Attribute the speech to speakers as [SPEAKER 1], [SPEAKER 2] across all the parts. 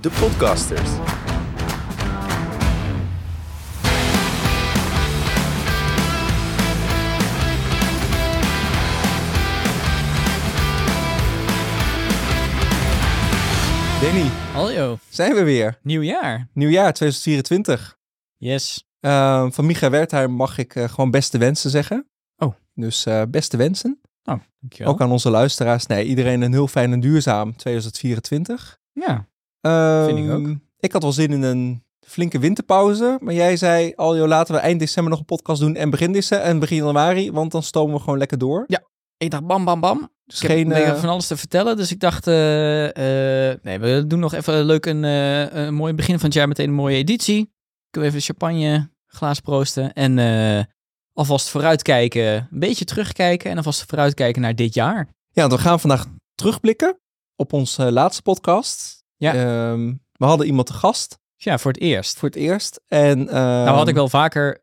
[SPEAKER 1] de podcasters. Danny,
[SPEAKER 2] Hallo,
[SPEAKER 1] zijn we weer.
[SPEAKER 2] nieuw jaar.
[SPEAKER 1] Nieuwjaar 2024.
[SPEAKER 2] Yes.
[SPEAKER 1] Eh, van Micha Wertheim mag ik eh, gewoon beste wensen zeggen.
[SPEAKER 2] Oh.
[SPEAKER 1] Dus eh, beste wensen.
[SPEAKER 2] Dankjewel.
[SPEAKER 1] Ook aan onze luisteraars. Nee, iedereen een heel fijn en duurzaam 2024.
[SPEAKER 2] Ja,
[SPEAKER 1] Ehm,
[SPEAKER 2] ik ook.
[SPEAKER 1] Ik had wel zin in een flinke winterpauze. Maar jij zei al, joh, laten we eind december nog een podcast doen en begin, december, en begin januari. Want dan stomen we gewoon lekker door.
[SPEAKER 2] ik dacht bam, bam, bam.
[SPEAKER 1] Dus
[SPEAKER 2] Ik heb
[SPEAKER 1] geen,
[SPEAKER 2] een beetje
[SPEAKER 1] eh,
[SPEAKER 2] van alles te vertellen, dus ik dacht, eh, eh, nee, we doen nog even leuk een, eh, een mooi begin van het jaar, meteen een mooie editie. Kunnen we even champagne, glaas proosten en eh, alvast vooruitkijken, een beetje terugkijken en alvast vooruitkijken naar dit jaar.
[SPEAKER 1] Ja, want we gaan vandaag terugblikken op onze eh, laatste podcast.
[SPEAKER 2] Ja.
[SPEAKER 1] Ehm, we hadden iemand te gast
[SPEAKER 2] Dus ja, voor het eerst.
[SPEAKER 1] voor het eerst. En, ehm,
[SPEAKER 2] nou had ik wel vaker,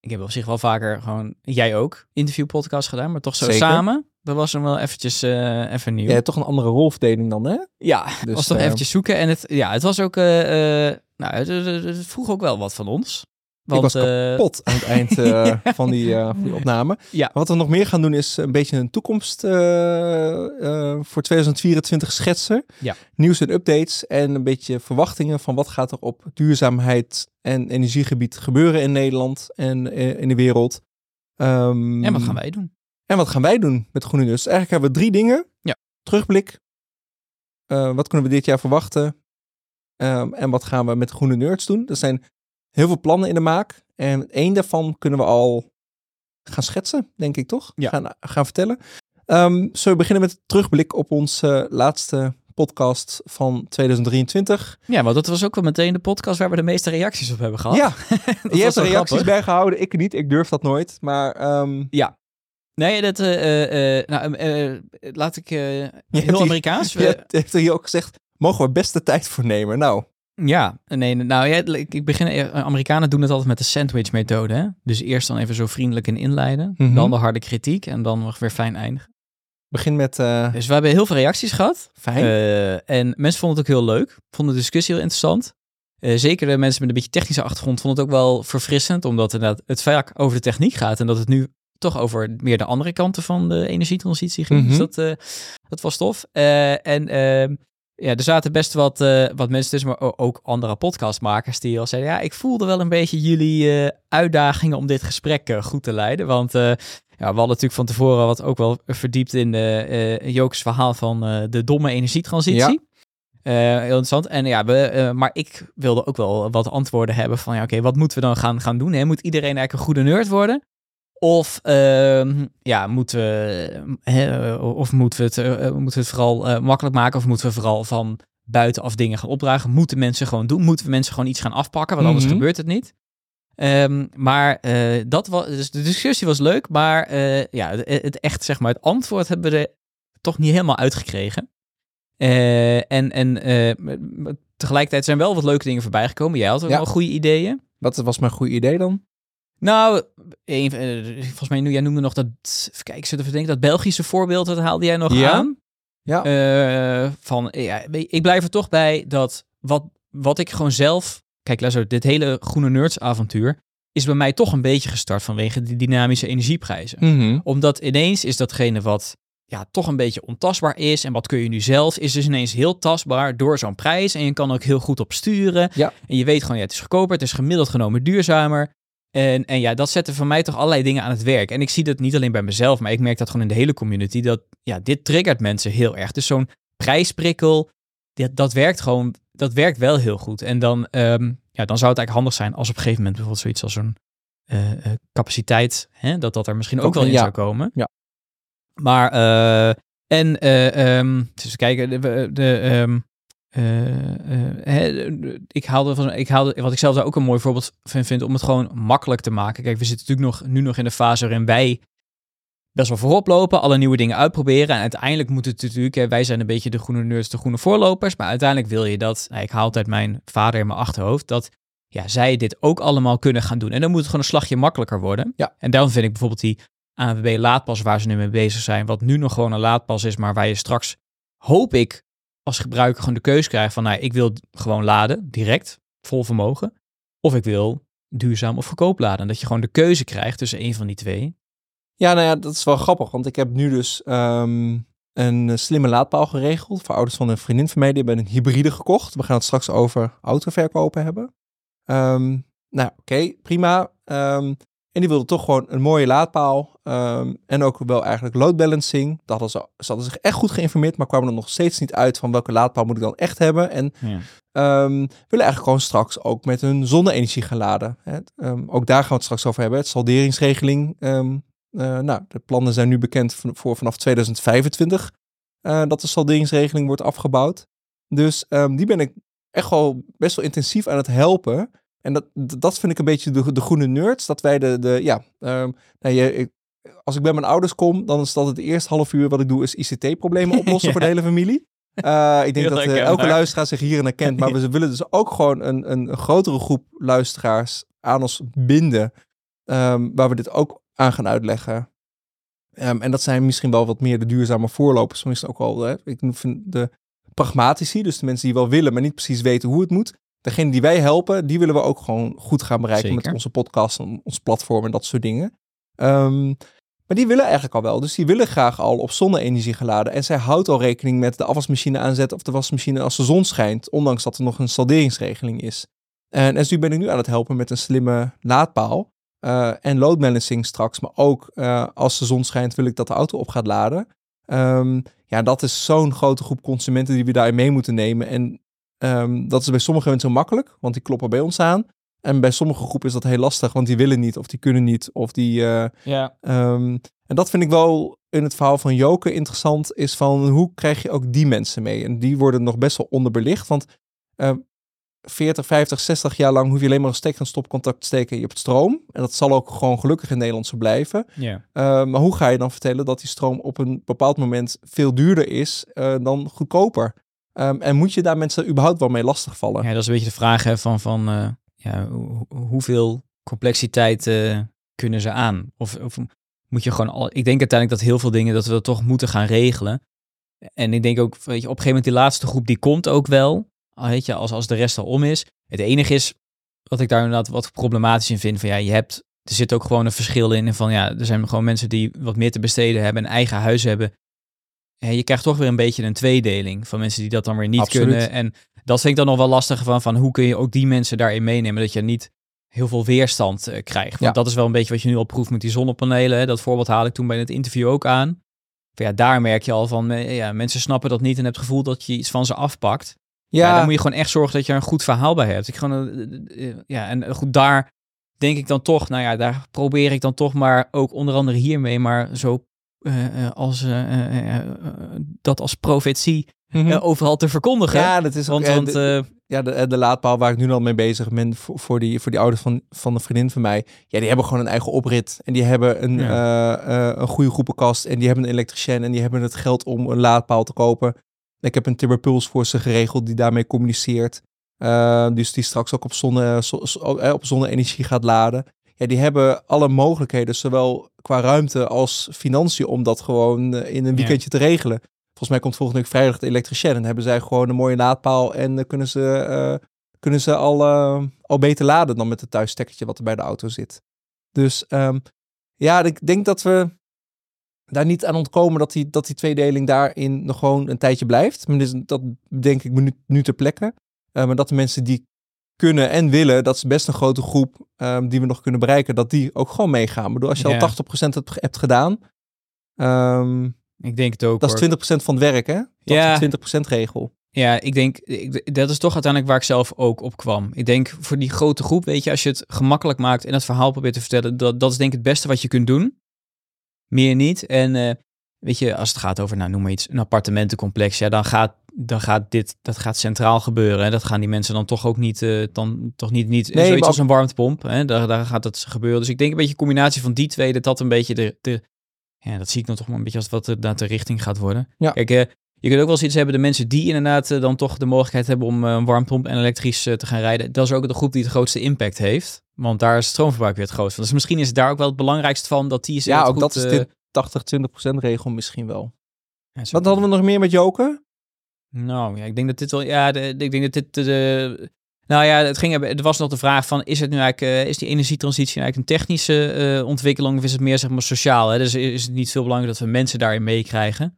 [SPEAKER 2] ik heb op zich wel vaker gewoon, jij ook, interviewpodcast gedaan, maar toch zo
[SPEAKER 1] Zeker.
[SPEAKER 2] samen. Dat was hem wel eventjes eh, even nieuw.
[SPEAKER 1] Ja, toch een andere rolverdeling dan, hè?
[SPEAKER 2] ja,
[SPEAKER 1] Dus,
[SPEAKER 2] was toch
[SPEAKER 1] eh,
[SPEAKER 2] eventjes zoeken. En het, ja, het was ook... eh, eh, nou, het, het- het- het vroeg ook wel wat van ons. Want,
[SPEAKER 1] was
[SPEAKER 2] eh,
[SPEAKER 1] pot aan het eind eh,
[SPEAKER 2] Ja.
[SPEAKER 1] van, die, eh, van die opname.
[SPEAKER 2] Ja.
[SPEAKER 1] Wat we nog meer gaan doen is een beetje een toekomst eh, eh, voor 2024 schetsen.
[SPEAKER 2] Ja.
[SPEAKER 1] Nieuws en updates en een beetje verwachtingen van wat gaat er op duurzaamheid en energiegebied gebeuren in Nederland en eh, in de wereld. Ehm,
[SPEAKER 2] En wat gaan wij doen?
[SPEAKER 1] en wat gaan wij doen met Groene Dus? Eigenlijk hebben we drie dingen.
[SPEAKER 2] Ja.
[SPEAKER 1] Terugblik. Eh, wat kunnen we dit jaar verwachten? Ehm, en wat gaan we met Groene Nerds doen? Er zijn heel veel plannen in de maak. En één daarvan kunnen we al gaan schetsen, denk ik toch?
[SPEAKER 2] Ja.
[SPEAKER 1] Gaan, gaan vertellen. Ehm zullen we beginnen met een terugblik op onze laatste podcast van 2023?
[SPEAKER 2] Ja, want dat was ook wel meteen de podcast waar we de meeste reacties op hebben gehad.
[SPEAKER 1] Ja,
[SPEAKER 2] dat
[SPEAKER 1] je
[SPEAKER 2] was
[SPEAKER 1] hebt er
[SPEAKER 2] wel
[SPEAKER 1] reacties
[SPEAKER 2] grappig.
[SPEAKER 1] bijgehouden. Ik niet, ik durf dat nooit. Maar ehm,
[SPEAKER 2] Nee, dat... eh, eh, eh, nou, eh, eh, laat ik... eh,
[SPEAKER 1] hebt
[SPEAKER 2] heel
[SPEAKER 1] die-
[SPEAKER 2] Amerikaans. eh,
[SPEAKER 1] je hebt er hier ook gezegd, mogen we best de tijd voor nemen? Nou,
[SPEAKER 2] Ja, nee, nou ja, ik ik begin. eh, Amerikanen doen het altijd met de sandwich-methode. hè? Dus eerst dan even zo vriendelijk in inleiden.
[SPEAKER 1] Mhm.
[SPEAKER 2] Dan de harde kritiek en dan nog weer fijn eindigen.
[SPEAKER 1] begin met... eh,
[SPEAKER 2] Dus we hebben heel veel reacties gehad.
[SPEAKER 1] Fijn.
[SPEAKER 2] Eh, en mensen vonden het ook heel leuk. Vonden de discussie heel interessant. Eh, zeker de mensen met een beetje technische achtergrond vonden het ook wel verfrissend. Omdat inderdaad het vaak over de techniek gaat. En dat het nu toch over meer de andere kanten van de energietransitie ging.
[SPEAKER 1] Mhm.
[SPEAKER 2] Dus dat, eh, dat was tof. Eh, en ehm, ja, er zaten best wat, eh, wat mensen tussen, maar o- ook andere podcastmakers die al zeiden... ja, ik voelde wel een beetje jullie eh, uitdagingen om dit gesprek eh, goed te leiden. Want eh, ja, we hadden natuurlijk van tevoren wat ook wel verdiept in eh eh Joke's verhaal van eh, de domme energietransitie.
[SPEAKER 1] Ja.
[SPEAKER 2] Eh, heel interessant. En ja, we, eh, maar ik wilde ook wel wat antwoorden hebben van ja, oké, wat moeten we dan gaan, gaan doen? Hè? Moet iedereen eigenlijk een goede nerd worden? Of, ehm, ja, moeten we, eh, hè, of moeten we het, eh, moeten we het vooral eh, makkelijk maken? Of moeten we vooral van buitenaf dingen gaan opdragen? Moeten mensen gewoon doen? Moeten we mensen gewoon iets gaan afpakken? Want anders
[SPEAKER 1] Mhm.
[SPEAKER 2] gebeurt het niet. Ehm, maar eh, dat was, dus de discussie was leuk, maar eh, ja, het, het echt, zeg maar, het antwoord hebben we er toch niet helemaal uitgekregen. Eh, en en eh, m- m- tegelijkertijd zijn wel wat leuke dingen voorbij gekomen. Jij had ook
[SPEAKER 1] Ja.
[SPEAKER 2] wel goede ideeën.
[SPEAKER 1] Wat was mijn goede idee dan?
[SPEAKER 2] Nou, een, van- eh, volgens mij, jij noemde nog dat, even kijken, zitten we te denken, dat Belgische voorbeeld, dat haalde jij nog
[SPEAKER 1] Ja.
[SPEAKER 2] aan.
[SPEAKER 1] Ja.
[SPEAKER 2] Eh, van, ja, ik blijf er toch bij dat wat, wat ik gewoon zelf... Kijk, luister, dit hele Groene Nerds avontuur is bij mij toch een beetje gestart vanwege die dynamische energieprijzen. Omdat ineens is datgene wat ja, toch een beetje ontastbaar is. En wat kun je nu zelf, is dus ineens heel tastbaar door zo'n prijs. En je kan er ook heel goed op sturen.
[SPEAKER 1] Ja.
[SPEAKER 2] En je weet gewoon, ja, het is goedkoper, het is gemiddeld genomen duurzamer. En, en ja, dat zette voor mij toch allerlei dingen aan het werk. En ik zie dat niet alleen bij mezelf, maar ik merk dat gewoon in de hele community. Dat ja, dit triggert mensen heel erg. Dus zo'n prijsprikkel, dat, dat werkt gewoon, dat werkt wel heel goed. En dan, ehm, ja, dan zou het eigenlijk handig zijn als op een gegeven moment bijvoorbeeld zoiets als zo'n eh, eh, capaciteit, hè, dat dat er misschien ook
[SPEAKER 1] Ook
[SPEAKER 2] wel
[SPEAKER 1] een-
[SPEAKER 2] in
[SPEAKER 1] ja.
[SPEAKER 2] zou komen.
[SPEAKER 1] Ja.
[SPEAKER 2] Maar, eh, en, eh ehm dus kijken, de, de, ehm, eh, eh, hè, de- ik haalde van, ik haalde, wat ik zelf daar ook een mooi voorbeeld van vind, om het gewoon makkelijk te maken. Kijk, we zitten natuurlijk nog, nu nog in de fase waarin wij best wel voorop lopen, alle nieuwe dingen uitproberen. En uiteindelijk moet het natuurlijk, hè, wij zijn een beetje de groene nerds, de groene voorlopers, maar uiteindelijk wil je dat, nou, ik haal altijd mijn vader in mijn achterhoofd, dat ja, zij dit ook allemaal kunnen gaan doen. En dan moet het gewoon een slagje makkelijker worden.
[SPEAKER 1] Ja.
[SPEAKER 2] En daarom vind ik bijvoorbeeld die ANWB laadpas waar ze nu mee bezig zijn, wat nu nog gewoon een laadpas is, maar waar je straks, hoop ik, als gebruiker gewoon de keuze krijgt van, nou, ik wil gewoon laden, direct, vol vermogen. Of ik wil duurzaam of goedkoop laden. En dat je gewoon de keuze krijgt tussen één van die twee.
[SPEAKER 1] Ja, nou ja, dat is wel grappig. Want ik heb nu dus ehm, een eh, slimme laadpaal geregeld. Voor ouders van een vriendin van mij. Die hebben een hybride gekocht. We gaan het straks over autoverkopen hebben. Ehm, nou, oké, prima. Ehm, en die wilde toch gewoon een mooie laadpaal. ehm, en ook wel eigenlijk load balancing. Dat hadden ze, ze hadden zich echt goed geïnformeerd. Maar kwamen er nog steeds niet uit van welke laadpaal moet ik dan echt hebben. En Ehm, we willen eigenlijk gewoon straks ook met hun zonne-energie gaan laden. Hè. Ehm, ook daar gaan we het straks over hebben. Het salderingsregeling. ehm, eh, nou, de plannen zijn nu bekend van- voor vanaf 2025 eh, dat de salderingsregeling wordt afgebouwd. Dus ehm, die ben ik echt wel best wel intensief aan het helpen. En dat, d- dat vind ik een beetje de, de groene nerds. Dat wij de, de ja, ehm, nou, je, ik- als ik bij mijn ouders kom, dan is dat het eerste half uur wat ik doe, is ICT-problemen oplossen
[SPEAKER 2] Ja.
[SPEAKER 1] voor de hele familie. Eh, ik denk
[SPEAKER 2] Heel
[SPEAKER 1] dat eh, elke
[SPEAKER 2] herkenbaar.
[SPEAKER 1] luisteraar zich hierin herkent. Maar we willen dus ook gewoon een, een grotere groep luisteraars aan ons binden. ehm, waar we dit ook aan gaan uitleggen. Ehm, en dat zijn misschien wel wat meer de duurzame voorlopers. Misschien ook wel hè, ik vind de pragmatici. Dus de mensen die wel willen, maar niet precies weten hoe het moet. Degene die wij helpen, die willen we ook gewoon goed gaan bereiken met
[SPEAKER 2] Zeker.
[SPEAKER 1] onze podcast, en ons platform en dat soort dingen. Ehm, maar die willen eigenlijk al wel. Dus die willen graag al op zonne-energie geladen. En zij houdt al rekening met de afwasmachine aanzetten of de wasmachine als de zon schijnt. Ondanks dat er nog een salderingsregeling is. En, en dus nu ben ik nu aan het helpen met een slimme laadpaal. eh, en load balancing straks. Maar ook eh, als de zon schijnt wil ik dat de auto op gaat laden. Ehm, ja, dat is zo'n grote groep consumenten die we daarin mee moeten nemen. En ehm, dat is bij sommige mensen heel makkelijk. Want die kloppen bij ons aan. En bij sommige groepen is dat heel lastig. Want die willen niet of die kunnen niet. Of die... eh,
[SPEAKER 2] Ja.
[SPEAKER 1] Ehm, en dat vind ik wel in het verhaal van Joke interessant, is van hoe krijg je ook die mensen mee? En die worden nog best wel onderbelicht, want eh, 40, 50, 60 jaar lang hoef je alleen maar een stekker en stopcontact te steken en je hebt stroom. En dat zal ook gewoon gelukkig in Nederland zo blijven.
[SPEAKER 2] ja.
[SPEAKER 1] Eh, maar hoe ga je dan vertellen dat die stroom op een bepaald moment veel duurder is eh, dan goedkoper? Ehm, en moet je daar mensen überhaupt wel mee lastigvallen?
[SPEAKER 2] Ja, dat is een beetje de vraag hè, van, van eh, ja, hoe- hoeveel complexiteit eh, kunnen ze aan? Of, of moet je gewoon al. Ik denk uiteindelijk dat heel veel dingen dat we dat toch moeten gaan regelen. En ik denk ook, weet je, op een gegeven moment die laatste groep die komt ook wel. Al Weet je, als, als de rest al om is. Het enige is wat ik daar inderdaad wat problematisch in vind. Van ja, je hebt. Er zit ook gewoon een verschil in. Van ja, er zijn gewoon mensen die wat meer te besteden hebben. Een eigen huis hebben. En je krijgt toch weer een beetje een tweedeling. Van mensen die dat dan weer niet
[SPEAKER 1] Absoluut.
[SPEAKER 2] kunnen. En dat vind ik dan nog wel lastig van, van hoe kun je ook die mensen daarin meenemen. Dat je niet heel veel weerstand eh, krijgt. Want
[SPEAKER 1] Ja.
[SPEAKER 2] dat is wel een beetje wat je nu al proeft met die zonnepanelen. Hè. Dat voorbeeld haal ik toen bij het interview ook aan. Van ja, daar merk je al van, eh, ja, mensen snappen dat niet en hebben het gevoel dat je iets van ze afpakt. Ja. dan moet je gewoon echt zorgen dat je er een goed verhaal bij hebt. Ik gewoon, eh, eh, ja, en goed, daar denk ik dan toch, nou ja, daar probeer ik dan toch maar ook onder andere hiermee, maar zo eh, eh, als, eh, eh, eh, eh, dat als profetie
[SPEAKER 1] Mhm.
[SPEAKER 2] eh, overal te verkondigen.
[SPEAKER 1] ja, dat is ook...
[SPEAKER 2] want,
[SPEAKER 1] eh,
[SPEAKER 2] want
[SPEAKER 1] de-
[SPEAKER 2] eh,
[SPEAKER 1] ja, de, de laadpaal waar ik nu al mee bezig ben voor, voor, die, voor die ouders van, van een vriendin van mij. Ja, die hebben gewoon een eigen oprit. En die hebben een, eh, eh, een goede groepenkast. En die hebben een elektricien. En die hebben het geld om een laadpaal te kopen. Ik heb een Timber Pulse voor ze geregeld die daarmee communiceert. Eh, dus die straks ook op, zonne, zo- zo- eh, op zonne-energie gaat laden. Ja, die hebben alle mogelijkheden, zowel qua ruimte als financiën, om dat gewoon eh, in een
[SPEAKER 2] Ja.
[SPEAKER 1] weekendje te regelen. Volgens mij komt volgende week vrijdag de elektricien. En hebben zij gewoon een mooie laadpaal. En eh, kunnen ze, eh, kunnen ze al, eh, al beter laden dan met het thuisstekkertje wat er bij de auto zit. Dus ehm, ja, ik denk dat we daar niet aan ontkomen dat die, dat die tweedeling daarin nog gewoon een tijdje blijft. Maar dus dat denk ik nu, nu ter plekke. Eh, maar dat de mensen die kunnen en willen, dat is best een grote groep ehm, die we nog kunnen bereiken, dat die ook gewoon meegaan. Ik bedoel, als je
[SPEAKER 2] Ja.
[SPEAKER 1] al 80% hebt, hebt gedaan, ehm,
[SPEAKER 2] eh, ik denk het ook. hoor.
[SPEAKER 1] dat is 20% van het werk, hè? Dat
[SPEAKER 2] Ja.
[SPEAKER 1] is de 20% regel.
[SPEAKER 2] Ja, ik denk, ik, dat is toch uiteindelijk waar ik zelf ook op kwam. Ik denk voor die grote groep, weet je, als je het gemakkelijk maakt en het verhaal probeert te vertellen, dat, dat is denk ik het beste wat je kunt doen. Meer niet. En eh, weet je, als het gaat over, nou noem maar iets, een appartementencomplex, ja, dan gaat, dan gaat dit, dat gaat centraal gebeuren. Hè. Dat gaan die mensen dan toch ook niet, eh, dan toch niet, niet
[SPEAKER 1] maar
[SPEAKER 2] zoiets
[SPEAKER 1] ook-
[SPEAKER 2] als een warmtepomp. Hè. Daar, daar gaat dat gebeuren. Dus ik denk een beetje een combinatie van die twee, dat dat een beetje de, de ja, dat zie ik dan toch maar een beetje als wat de, dat de richting gaat worden.
[SPEAKER 1] Ja.
[SPEAKER 2] Kijk, eh, je kunt ook wel eens iets hebben, de mensen die inderdaad eh, dan toch de mogelijkheid hebben om eh, een warmpomp en elektrisch eh, te gaan rijden. Dat is ook de groep die het grootste impact heeft. Want daar is het stroomverbruik weer het grootste van. Dus misschien is het daar ook wel het belangrijkste van dat die is
[SPEAKER 1] Ja,
[SPEAKER 2] heel
[SPEAKER 1] ook
[SPEAKER 2] goed,
[SPEAKER 1] dat is
[SPEAKER 2] eh,
[SPEAKER 1] dit 80-20% regel misschien wel.
[SPEAKER 2] ja, zo-
[SPEAKER 1] Wat hadden we nog meer met Joker?
[SPEAKER 2] Nou, ja, ik denk dat dit wel. Ja, de, de- ik denk dat dit. De, de- nou ja, het ging, er was nog de vraag van: is het nu eigenlijk. eh, is die energietransitie eigenlijk een technische eh, ontwikkeling? Of is het meer zeg maar sociaal? Hè? Dus is het niet veel belangrijk dat we mensen daarin meekrijgen?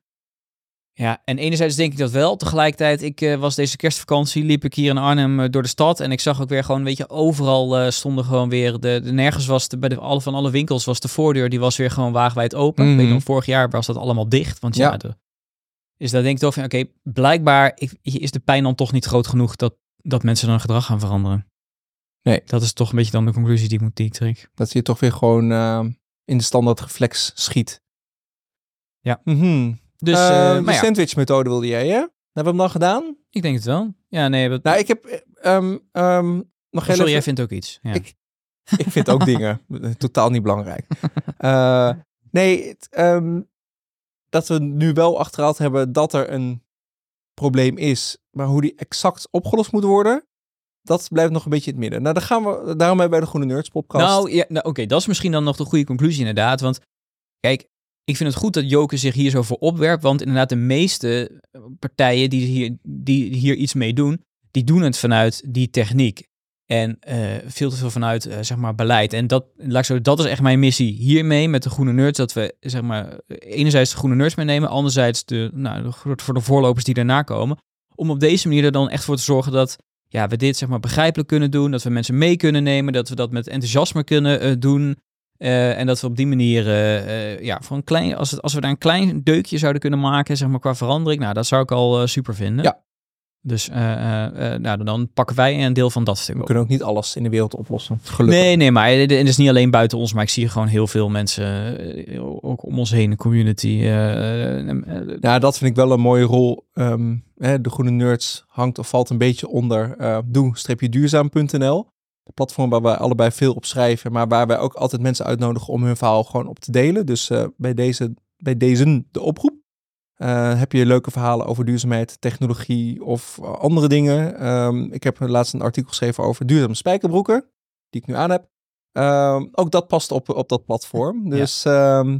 [SPEAKER 2] Ja, en enerzijds denk ik dat wel. Tegelijkertijd, ik eh, was deze kerstvakantie, liep ik hier in Arnhem eh, door de stad. En ik zag ook weer gewoon, weet je, overal eh, stonden gewoon weer. De, de nergens was, de, bij de, alle, van alle winkels was de voordeur, die was weer gewoon waagwijd open. Ik
[SPEAKER 1] Mhm.
[SPEAKER 2] weet nog, vorig jaar was dat allemaal dicht. Want ja,
[SPEAKER 1] Ja.
[SPEAKER 2] de- dus daar denk ik toch van, oké, blijkbaar ik- is de pijn dan toch niet groot genoeg dat, dat mensen dan gedrag gaan veranderen.
[SPEAKER 1] Nee.
[SPEAKER 2] Dat is toch een beetje dan de conclusie die ik moet die ik trek.
[SPEAKER 1] Dat je toch weer gewoon eh, in de standaard reflex schiet.
[SPEAKER 2] Ja.
[SPEAKER 1] Mhm.
[SPEAKER 2] Dus,
[SPEAKER 1] Eh,
[SPEAKER 2] eh,
[SPEAKER 1] de
[SPEAKER 2] maar ja,
[SPEAKER 1] sandwich methode wilde jij, hè? Hebben we hem dan gedaan?
[SPEAKER 2] ik denk het wel. Ja, nee, dat,
[SPEAKER 1] Nou, ik heb... eh, ehm, ehm, nog heel
[SPEAKER 2] Oh, sorry, jij
[SPEAKER 1] even-
[SPEAKER 2] vindt ook iets. Ja.
[SPEAKER 1] Ik- Ik vind ook dingen eh, totaal niet belangrijk. Eh, nee, het, ehm, dat we nu wel achterhaald hebben dat er een probleem is, maar hoe die exact opgelost moet worden, dat blijft nog een beetje in het midden. Nou, daar gaan we, daarom hebben wij de Groene Nerds podcast.
[SPEAKER 2] Nou, ja, nou oké, dat is misschien dan nog de goede conclusie inderdaad. Want kijk, ik vind het goed dat Joker zich hier zo voor opwerpt. Want inderdaad, de meeste eh, partijen die hier, die hier iets mee doen, die doen het vanuit die techniek. En eh, veel te veel vanuit, eh, zeg maar, beleid. En dat, laat ik zo, dat is echt mijn missie hiermee met de Groene Nerds. Dat we, zeg maar, eh, enerzijds de Groene Nerds meenemen. Anderzijds de, nou, de- voor de voorlopers die daarna komen. Om op deze manier er dan echt voor te zorgen dat ja, we dit zeg maar begrijpelijk kunnen doen. Dat we mensen mee kunnen nemen. Dat we dat met enthousiasme kunnen eh, doen. eh, en dat we op die manier, eh, eh, ja, voor een klein, als, het, als we daar een klein deukje zouden kunnen maken, zeg maar qua verandering. Nou, dat zou ik al eh, super vinden.
[SPEAKER 1] Ja.
[SPEAKER 2] Dus eh, eh, eh, nou, dan pakken wij een deel van dat stuk
[SPEAKER 1] we
[SPEAKER 2] op.
[SPEAKER 1] kunnen ook niet alles in de wereld oplossen. Gelukkig.
[SPEAKER 2] Nee, nee, maar het het is niet alleen buiten ons, maar ik zie gewoon heel veel mensen, eh, ook om ons heen, de community. eh, eh, eh,
[SPEAKER 1] Nou, dat vind ik wel een mooie rol. Ehm, hè, de Groene Nerds hangt of valt een beetje onder eh doe-duurzaam.nl. Het platform waar wij allebei veel op schrijven, maar waar wij ook altijd mensen uitnodigen om hun verhaal gewoon op te delen. Dus eh, bij, deze, bij deze de oproep. Eh, heb je leuke verhalen over duurzaamheid, technologie of eh, andere dingen? Ehm, ik heb laatst een artikel geschreven over duurzame spijkerbroeken, die ik nu aan heb. Ehm, ook dat past op, op dat platform. Dus ehm,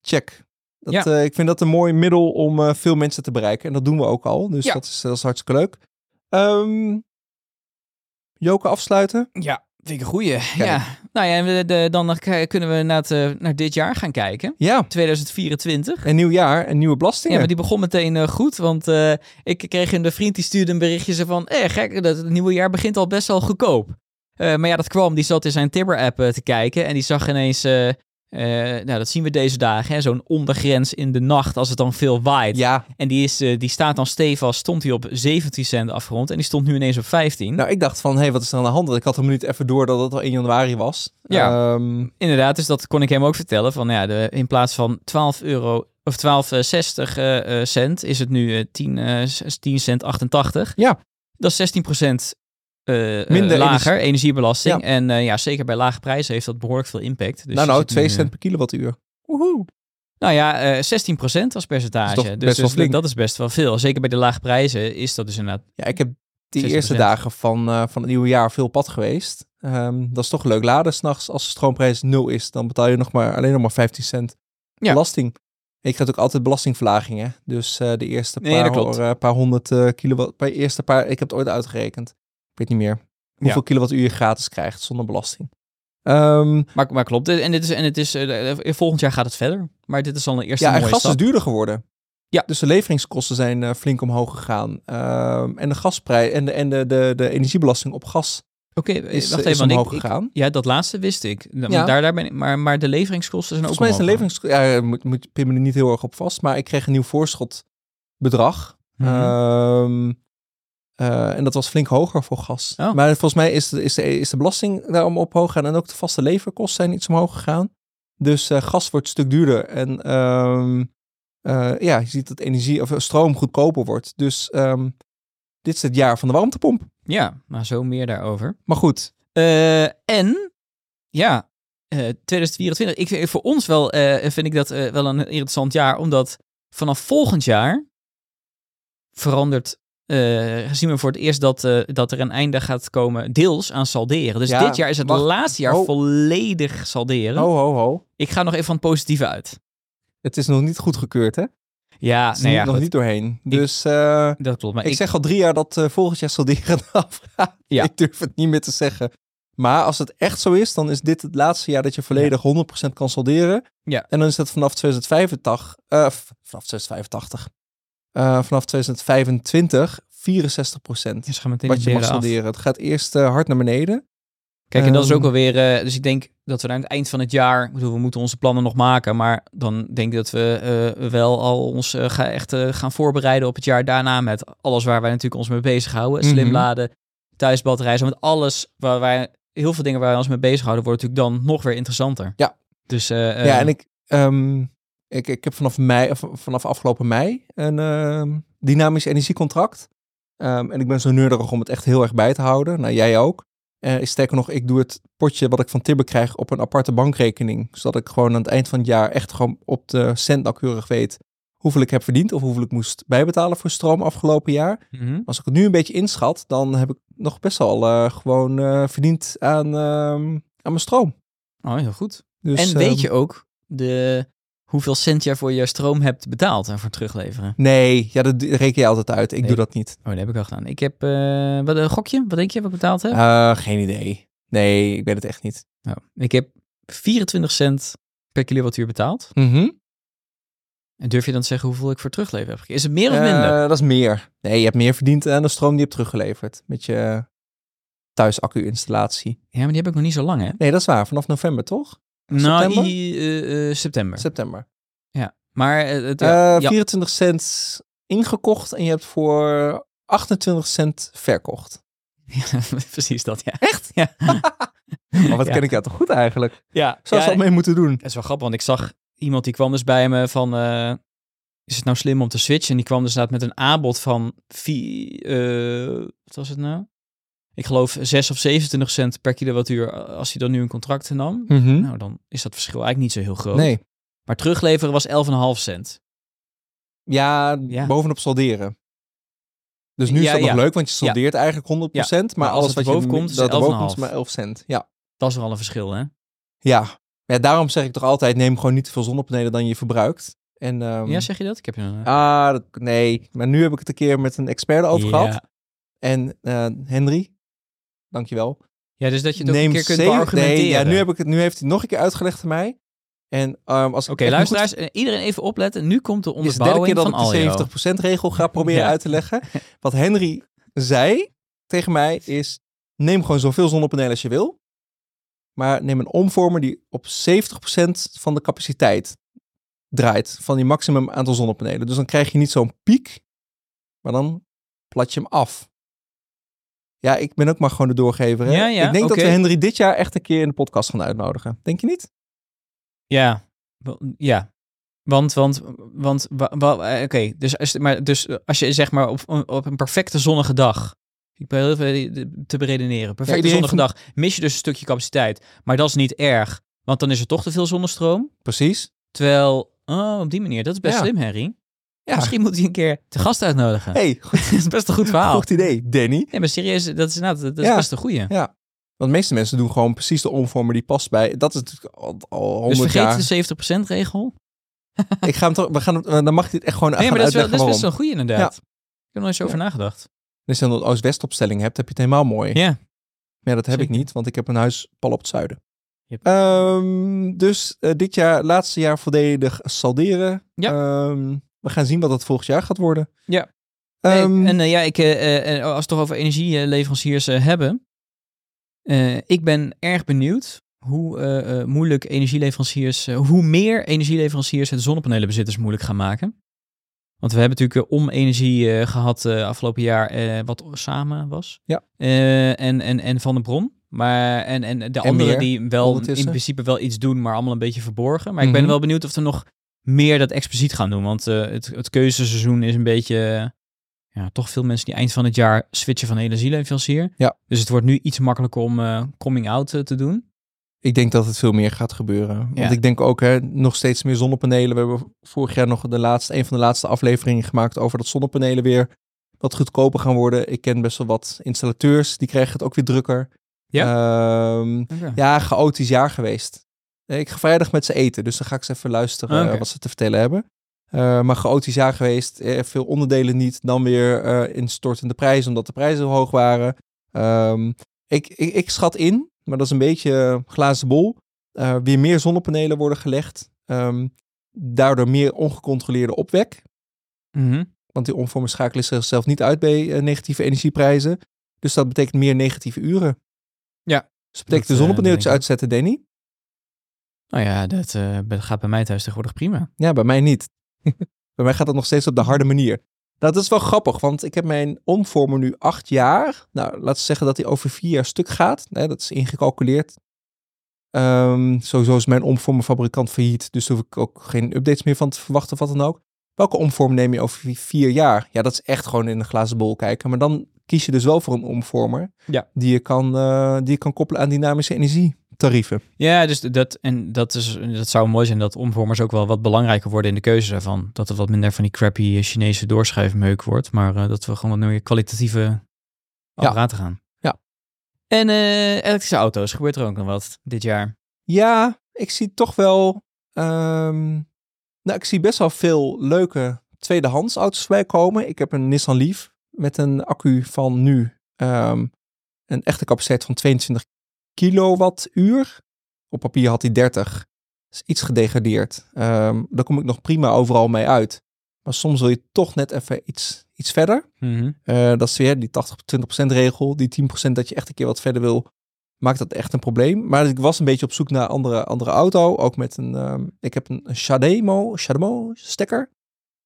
[SPEAKER 1] check. Dat,
[SPEAKER 2] Ja.
[SPEAKER 1] eh, ik vind dat een mooi middel om eh, veel mensen te bereiken. En dat doen we ook al. Dus
[SPEAKER 2] Ja.
[SPEAKER 1] dat, is, dat is hartstikke leuk. Ehm Joke afsluiten.
[SPEAKER 2] Ja, vind ik een goeie. Ja. Nou ja, en we- de- dan k- kunnen we naar, het, eh, naar dit jaar gaan kijken.
[SPEAKER 1] Ja,
[SPEAKER 2] 2024.
[SPEAKER 1] een nieuw jaar en nieuwe belastingen.
[SPEAKER 2] Ja, maar die begon meteen eh, goed, want eh, ik kreeg een vriend die stuurde een berichtje zo van... Eh, gek, dat, het nieuwe jaar begint al best wel goedkoop. Eh, maar ja, dat kwam, die zat in zijn Tibber-app eh, te kijken en die zag ineens... eh, eh, nou, dat zien we deze dagen, hè, zo'n ondergrens in de nacht als het dan veel waait.
[SPEAKER 1] Ja,
[SPEAKER 2] En die, is, eh, die staat dan stevast, stond hij op 17 cent afgerond en die stond nu ineens op 15.
[SPEAKER 1] nou ik dacht van, hé, hey, wat is er aan de hand? Ik had hem niet even door dat het al 1 januari was.
[SPEAKER 2] Ja.
[SPEAKER 1] Ehm,
[SPEAKER 2] Inderdaad, dus dat kon ik hem ook vertellen. Van, ja, de, in plaats van 12 euro of 12,60 eh, eh, cent is het nu eh 10, eh, s- 10 cent 88.
[SPEAKER 1] Ja.
[SPEAKER 2] Dat is 16 procent eh,
[SPEAKER 1] Minder
[SPEAKER 2] lager, energiebelasting.
[SPEAKER 1] Ja.
[SPEAKER 2] En eh, ja, zeker bij lage prijzen heeft dat behoorlijk veel impact. Dus
[SPEAKER 1] nou,
[SPEAKER 2] je
[SPEAKER 1] nou,
[SPEAKER 2] zit
[SPEAKER 1] 2
[SPEAKER 2] nu,
[SPEAKER 1] cent
[SPEAKER 2] eh,
[SPEAKER 1] per kilowattuur. Woehoe.
[SPEAKER 2] nou ja, eh 16 als percentage.
[SPEAKER 1] Dat is toch
[SPEAKER 2] dus
[SPEAKER 1] best wel
[SPEAKER 2] dus
[SPEAKER 1] flink.
[SPEAKER 2] dat is best wel veel. Zeker bij de lage prijzen is dat dus inderdaad...
[SPEAKER 1] Ja, ik heb die
[SPEAKER 2] 60%.
[SPEAKER 1] eerste dagen van, eh, van het nieuwe jaar veel op pad geweest. Ehm, dat is toch leuk laden s'nachts. Als de stroomprijs nul is, dan betaal je nog maar, alleen nog maar 15 cent
[SPEAKER 2] Ja.
[SPEAKER 1] belasting. En je krijgt ook altijd belastingverlagingen. Dus eh, de eerste
[SPEAKER 2] Nee,
[SPEAKER 1] paar,
[SPEAKER 2] dat klopt.
[SPEAKER 1] hor- eh, paar honderd eh, kilowatt... Bij eerste paar, ik heb het ooit uitgerekend. Ik weet niet meer hoeveel kilowattuur je gratis krijgt zonder belasting. Ehm,
[SPEAKER 2] Maar, maar klopt. En, dit is, en het is, eh, volgend jaar gaat het verder. Maar dit is al een eerste
[SPEAKER 1] ja, en
[SPEAKER 2] mooie
[SPEAKER 1] gas
[SPEAKER 2] stap.
[SPEAKER 1] is dus- duurder geworden.
[SPEAKER 2] Ja.
[SPEAKER 1] Dus de leveringskosten zijn eh, flink omhoog gegaan. Ehm, en de gasprijs en de, en de, de, de energiebelasting op gas
[SPEAKER 2] Oké, eh,
[SPEAKER 1] is,
[SPEAKER 2] wacht
[SPEAKER 1] is
[SPEAKER 2] even. want ik-
[SPEAKER 1] omhoog
[SPEAKER 2] ik,
[SPEAKER 1] gegaan.
[SPEAKER 2] Ja, dat laatste wist ik. Da-
[SPEAKER 1] Ja.
[SPEAKER 2] Daar, daar ben ik. Maar, maar de leveringskosten zijn
[SPEAKER 1] Volgens
[SPEAKER 2] ook
[SPEAKER 1] mij is een
[SPEAKER 2] omhoog
[SPEAKER 1] leverings... Ja, moet, moet pin me er niet heel erg op vast. Maar ik kreeg een nieuw voorschotbedrag.
[SPEAKER 2] gegaan. Mhm.
[SPEAKER 1] Ehm, eh, en dat was flink hoger voor gas.
[SPEAKER 2] Oh.
[SPEAKER 1] Maar volgens mij is de, is, de, is de belasting daarom omhoog gegaan. En ook de vaste leverkosten zijn iets omhoog gegaan. Dus eh, gas wordt een stuk duurder. En ehm, eh, ja, je ziet dat energie of eh, stroom goedkoper wordt. Dus ehm, dit is het jaar van de warmtepomp.
[SPEAKER 2] Ja, maar zo meer daarover.
[SPEAKER 1] Maar goed,
[SPEAKER 2] Eh, en, ja, eh, 2024. Ik, vind- voor ons wel, eh, vind ik dat eh, wel een interessant jaar. Omdat vanaf volgend jaar verandert. eh, zien we voor het eerst dat, eh, dat er een einde gaat komen, deels aan salderen. Dus
[SPEAKER 1] Ja,
[SPEAKER 2] dit jaar is het
[SPEAKER 1] wacht.
[SPEAKER 2] laatste jaar
[SPEAKER 1] Oh.
[SPEAKER 2] volledig salderen.
[SPEAKER 1] ho ho ho.
[SPEAKER 2] Ik ga nog even van het positieve uit.
[SPEAKER 1] Het is nog niet goedgekeurd hè?
[SPEAKER 2] Ja,
[SPEAKER 1] is
[SPEAKER 2] Ah, nee,
[SPEAKER 1] niet-
[SPEAKER 2] ja,
[SPEAKER 1] nog
[SPEAKER 2] goed.
[SPEAKER 1] niet doorheen. Dus eh,
[SPEAKER 2] dat klopt. Maar
[SPEAKER 1] ik,
[SPEAKER 2] ik,
[SPEAKER 1] zeg al drie jaar dat eh volgend jaar Saldira eraf gaat.
[SPEAKER 2] Ja.
[SPEAKER 1] Ik durf het niet meer te zeggen. Maar als het echt zo is, dan is dit het laatste jaar dat je volledig 100% kan solderen.
[SPEAKER 2] Ja.
[SPEAKER 1] En dan is dat vanaf 2085, eh, v- vanaf 2085, eh, vanaf 2025, 64%
[SPEAKER 2] ze gaan meteen
[SPEAKER 1] wat
[SPEAKER 2] de
[SPEAKER 1] je
[SPEAKER 2] beren
[SPEAKER 1] mag
[SPEAKER 2] af.
[SPEAKER 1] solderen. Het gaat eerst eh, hard naar beneden.
[SPEAKER 2] Kijk, en dat is
[SPEAKER 1] Ehm,
[SPEAKER 2] ook alweer. eh dus ik denk dat we aan het eind van het jaar. ik Bedoel, we moeten onze plannen nog maken. Maar dan denk ik dat we eh, wel al ons eh, ga echt eh, gaan voorbereiden op het jaar daarna. Met alles waar wij natuurlijk ons mee bezighouden. Slim
[SPEAKER 1] Mhm.
[SPEAKER 2] laden, thuisbatterijen. zo, Met alles waar wij. Heel veel dingen waar wij ons mee bezighouden. Wordt natuurlijk dan nog weer interessanter.
[SPEAKER 1] Ja.
[SPEAKER 2] Dus. eh,
[SPEAKER 1] ja,
[SPEAKER 2] eh,
[SPEAKER 1] en ik, ehm, ik, ik heb vanaf, mei, of vanaf afgelopen mei een ehm, dynamisch energiecontract. Ehm, en ik ben zo neurderig om het echt heel erg bij te houden. Nou, jij ook. Eh sterker nog, ik doe het potje wat ik van Tibber krijg op een aparte bankrekening. Zodat ik gewoon aan het eind van het jaar echt gewoon op de cent nauwkeurig weet hoeveel ik heb verdiend of hoeveel ik moest bijbetalen voor stroom afgelopen jaar.
[SPEAKER 2] mhm.
[SPEAKER 1] Als ik het nu een beetje inschat, dan heb ik nog best wel eh, gewoon eh, verdiend aan, ehm, aan mijn stroom.
[SPEAKER 2] Oh, heel goed.
[SPEAKER 1] Dus,
[SPEAKER 2] en weet
[SPEAKER 1] ehm,
[SPEAKER 2] je ook de, hoeveel cent jij voor je stroom hebt betaald en voor terugleveren?
[SPEAKER 1] Nee, ja, dat reken je altijd uit. Ik
[SPEAKER 2] Nee.
[SPEAKER 1] doe dat niet.
[SPEAKER 2] Oh, dat heb ik al gedaan. Ik heb. eh, wat een gokje? Wat denk je wat ik betaald heb?
[SPEAKER 1] Eh, geen idee. Nee, ik weet het echt niet.
[SPEAKER 2] Nou, ik heb 24 cent per kilowattuur betaald. En durf je dan te zeggen hoeveel ik voor terugleven heb gekregen? Is het meer of minder?
[SPEAKER 1] Eh, dat is meer. Nee, je hebt meer verdiend aan de stroom die je hebt teruggeleverd. Met je thuisaccu-installatie.
[SPEAKER 2] ja, maar die heb ik nog niet zo lang, hè?
[SPEAKER 1] Nee, dat is waar. Vanaf november, toch?
[SPEAKER 2] Nou,
[SPEAKER 1] september?
[SPEAKER 2] i- eh, eh, september.
[SPEAKER 1] September.
[SPEAKER 2] maar eh, het,
[SPEAKER 1] Eh,
[SPEAKER 2] ja, ja,
[SPEAKER 1] 24 cent ingekocht en je hebt voor 28 cent verkocht.
[SPEAKER 2] precies dat, ja.
[SPEAKER 1] Echt?
[SPEAKER 2] Ja.
[SPEAKER 1] Maar wat
[SPEAKER 2] Ja.
[SPEAKER 1] ken ik jou toch goed eigenlijk?
[SPEAKER 2] Ja,
[SPEAKER 1] Zou ze
[SPEAKER 2] ja,
[SPEAKER 1] dat mee moeten doen?
[SPEAKER 2] Het is wel grappig, want ik zag iemand die kwam dus bij me van... eh, is het nou slim om te switchen? En die kwam dus inderdaad met een aanbod van... vi- eh, wat was het nou? Ik geloof 6 of 27 cent per kilowattuur eh, als hij dan nu een contract nam. Nou, dan is dat verschil eigenlijk niet zo heel groot.
[SPEAKER 1] Nee.
[SPEAKER 2] Maar terugleveren was 11,5 cent.
[SPEAKER 1] Ja,
[SPEAKER 2] Ja.
[SPEAKER 1] bovenop solderen. Dus nu is
[SPEAKER 2] Ja,
[SPEAKER 1] dat
[SPEAKER 2] ja.
[SPEAKER 1] nog leuk, want je soldeert eigenlijk 100%, maar,
[SPEAKER 2] als
[SPEAKER 1] alles
[SPEAKER 2] het
[SPEAKER 1] wat je
[SPEAKER 2] boven komt, is
[SPEAKER 1] dat
[SPEAKER 2] het
[SPEAKER 1] er boven komt is
[SPEAKER 2] 11,5.
[SPEAKER 1] maar 11 cent. Ja.
[SPEAKER 2] Dat is wel een verschil, hè?
[SPEAKER 1] Ja. ja, daarom zeg ik toch altijd, neem gewoon niet te veel zonnepanelen dan je verbruikt. En, ehm,
[SPEAKER 2] ja, zeg je dat? Ik heb je eh, een...
[SPEAKER 1] ah, dat- nee, maar nu heb ik het een keer met een expert over
[SPEAKER 2] ja.
[SPEAKER 1] gehad. En eh Henry, dankjewel.
[SPEAKER 2] Ja, dus dat je het ook
[SPEAKER 1] Neem
[SPEAKER 2] een keer kunt
[SPEAKER 1] zeven-
[SPEAKER 2] argumenteren.
[SPEAKER 1] Nee, ja, nu, heb ik het, nu heeft hij het nog een keer uitgelegd aan mij. En ehm, als ik
[SPEAKER 2] Oké,
[SPEAKER 1] echt me goed
[SPEAKER 2] luisteraars, eh, iedereen even opletten. Nu komt de
[SPEAKER 1] is de derde keer
[SPEAKER 2] onderbouwing
[SPEAKER 1] dat
[SPEAKER 2] van Aljo.
[SPEAKER 1] ik de 70% regel ga proberen
[SPEAKER 2] Ja.
[SPEAKER 1] uit te leggen. Wat Henry zei tegen mij is, neem gewoon zoveel zonnepanelen als je wil. Maar neem een omvormer die op 70% van de capaciteit draait. Van je maximum aantal zonnepanelen. Dus dan krijg je niet zo'n piek, maar dan plat je hem af. Ja, ik ben ook maar gewoon de doorgever. Hè?
[SPEAKER 2] Ja, ja,
[SPEAKER 1] ik denk
[SPEAKER 2] oké.
[SPEAKER 1] dat we Henry dit jaar echt een keer in de podcast gaan uitnodigen. Denk je niet?
[SPEAKER 2] Ja, Wel, ja. Want, want, want, wa- wa- eh, oké, dus, als, maar, dus eh, als je zeg maar op, op een perfecte zonnige dag, ik ben heel even eh, te beredeneren, perfecte
[SPEAKER 1] iedereen
[SPEAKER 2] zonnige dag, mis je dus een stukje capaciteit, maar dat is niet erg, want dan is er toch te veel zonnestroom.
[SPEAKER 1] Precies.
[SPEAKER 2] Terwijl, oh, op die manier, dat is best
[SPEAKER 1] Ja.
[SPEAKER 2] slim, Harry.
[SPEAKER 1] Ja.
[SPEAKER 2] Misschien moet hij een keer te gast uitnodigen.
[SPEAKER 1] hey, goed,
[SPEAKER 2] dat is best een goed verhaal.
[SPEAKER 1] goed idee, Danny.
[SPEAKER 2] Nee, maar serieus, dat is, inderdaad, dat is
[SPEAKER 1] Ja.
[SPEAKER 2] best een goeie.
[SPEAKER 1] Want de meeste mensen doen gewoon precies de omvormer die past bij. Dat is natuurlijk al, al
[SPEAKER 2] Dus
[SPEAKER 1] 100 jaar.
[SPEAKER 2] vergeet de 70% regel.
[SPEAKER 1] Ik ga hem toch, we gaan, hem- eh, dan mag je dit echt gewoon
[SPEAKER 2] Nee,
[SPEAKER 1] gaan
[SPEAKER 2] maar dat is, wel,
[SPEAKER 1] uitleggen
[SPEAKER 2] dat is best wel
[SPEAKER 1] waarom.
[SPEAKER 2] een goeie inderdaad. Ik heb er nooit zo over nagedacht.
[SPEAKER 1] Dus als je een oost-west opstelling hebt, heb je het helemaal mooi.
[SPEAKER 2] Ja.
[SPEAKER 1] Maar ja, dat heb
[SPEAKER 2] Zeker.
[SPEAKER 1] ik niet, want ik heb een huis pal op het zuiden.
[SPEAKER 2] Yep.
[SPEAKER 1] Ehm, dus eh, dit jaar, laatste jaar volledig salderen.
[SPEAKER 2] Ja.
[SPEAKER 1] Ehm, we gaan zien wat dat volgend jaar gaat worden.
[SPEAKER 2] Ja. Nee,
[SPEAKER 1] Ehm,
[SPEAKER 2] en eh, ja, ik, eh, eh, eh, als we het toch over energieleveranciers eh, hebben. eh, ik ben erg benieuwd hoe eh, eh, moeilijk energieleveranciers, eh, hoe meer energieleveranciers het zonnepanelenbezitters moeilijk gaan maken. Want we hebben natuurlijk eh, om energie eh, gehad eh, afgelopen jaar, eh, wat samen was.
[SPEAKER 1] Ja.
[SPEAKER 2] Eh, en, en, en van de bron. Maar en, en de anderen
[SPEAKER 1] meer,
[SPEAKER 2] die wel in
[SPEAKER 1] ondertussen.
[SPEAKER 2] principe wel iets doen, maar allemaal een beetje verborgen. Maar ik ben
[SPEAKER 1] Mhm.
[SPEAKER 2] wel benieuwd of er nog meer dat expliciet gaan doen. Want eh, het, het keuzeseizoen is een beetje. eh, ja, toch veel mensen die eind van het jaar switchen van energieleverancier.
[SPEAKER 1] Ja.
[SPEAKER 2] Dus het wordt nu iets makkelijker om eh, coming out eh, te doen.
[SPEAKER 1] Ik denk dat het veel meer gaat gebeuren. Want
[SPEAKER 2] Ja.
[SPEAKER 1] ik denk ook hè, nog steeds meer zonnepanelen. We hebben vorig jaar nog de laatste, een van de laatste afleveringen gemaakt over dat zonnepanelen weer wat goedkoper gaan worden. Ik ken best wel wat installateurs, die krijgen het ook weer drukker.
[SPEAKER 2] Ja?
[SPEAKER 1] Ehm, ja, chaotisch jaar geweest. Eh, Ik ga vrijdag met ze eten, dus dan ga ik ze even luisteren
[SPEAKER 2] Oké.
[SPEAKER 1] eh, wat ze te vertellen hebben. eh, maar chaotisch jaar geweest. Eh, veel onderdelen niet. Dan weer eh, instortende prijzen, omdat de prijzen hoog waren. Ehm, ik, ik, ik schat in, maar dat is een beetje eh, glazen bol. eh, weer meer zonnepanelen worden gelegd. Ehm, daardoor meer ongecontroleerde opwek.
[SPEAKER 2] Mhm.
[SPEAKER 1] Want die omvormingsschakelen zichzelf niet uit bij eh, negatieve energieprijzen. Dus dat betekent meer negatieve uren.
[SPEAKER 2] Ja.
[SPEAKER 1] Dus dat betekent
[SPEAKER 2] Dat,
[SPEAKER 1] de
[SPEAKER 2] eh,
[SPEAKER 1] zonnepaneeltjes
[SPEAKER 2] denk ik.
[SPEAKER 1] uitzetten, Danny.
[SPEAKER 2] Nou ja, dat eh, be- gaat bij mij thuis tegenwoordig prima.
[SPEAKER 1] Ja, bij mij niet. bij mij gaat dat nog steeds op de harde manier. Nou, dat is wel grappig, want ik heb mijn omvormer nu acht jaar. Nou, laten we zeggen dat hij over vier jaar stuk gaat. Nee, dat is ingecalculeerd. Ehm, sowieso is mijn omvormerfabrikant failliet, dus daar hoef ik ook geen updates meer van te verwachten of wat dan ook. Welke omvorm neem je over vi- vier jaar? Ja, dat is echt gewoon in de glazen bol kijken. Maar dan kies je dus wel voor een omvormer
[SPEAKER 2] Ja.
[SPEAKER 1] die, je kan, eh, die je kan koppelen aan dynamische energietarieven.
[SPEAKER 2] Ja, dus dat, en dat, is, dat zou mooi zijn dat omvormers ook wel wat belangrijker worden in de keuze daarvan. Dat het wat minder van die crappy eh, Chinese doorschuifmeuk wordt, maar eh, dat we gewoon wat meer kwalitatieve apparaten gaan.
[SPEAKER 1] Ja.
[SPEAKER 2] En eh, elektrische auto's, gebeurt er ook nog wat dit jaar?
[SPEAKER 1] Ja, ik zie toch wel. ehm, nou, ik zie best wel veel leuke tweedehands auto's voorbij komen. Ik heb een Nissan Leaf met een accu van nu ehm, een echte capaciteit van 22 kilowattuur. Op papier had hij 30. Dat is iets gedegradeerd. Ehm daar kom ik nog prima overal mee uit. Maar soms wil je toch net even iets, iets verder. Eh, dat is weer die 80-20% regel. Die 10% dat je echt een keer wat verder wil, maakt dat echt een probleem. Maar ik was een beetje op zoek naar andere, andere auto. Ook met een, ehm, ik heb een, een Shademo, Shademo stekker.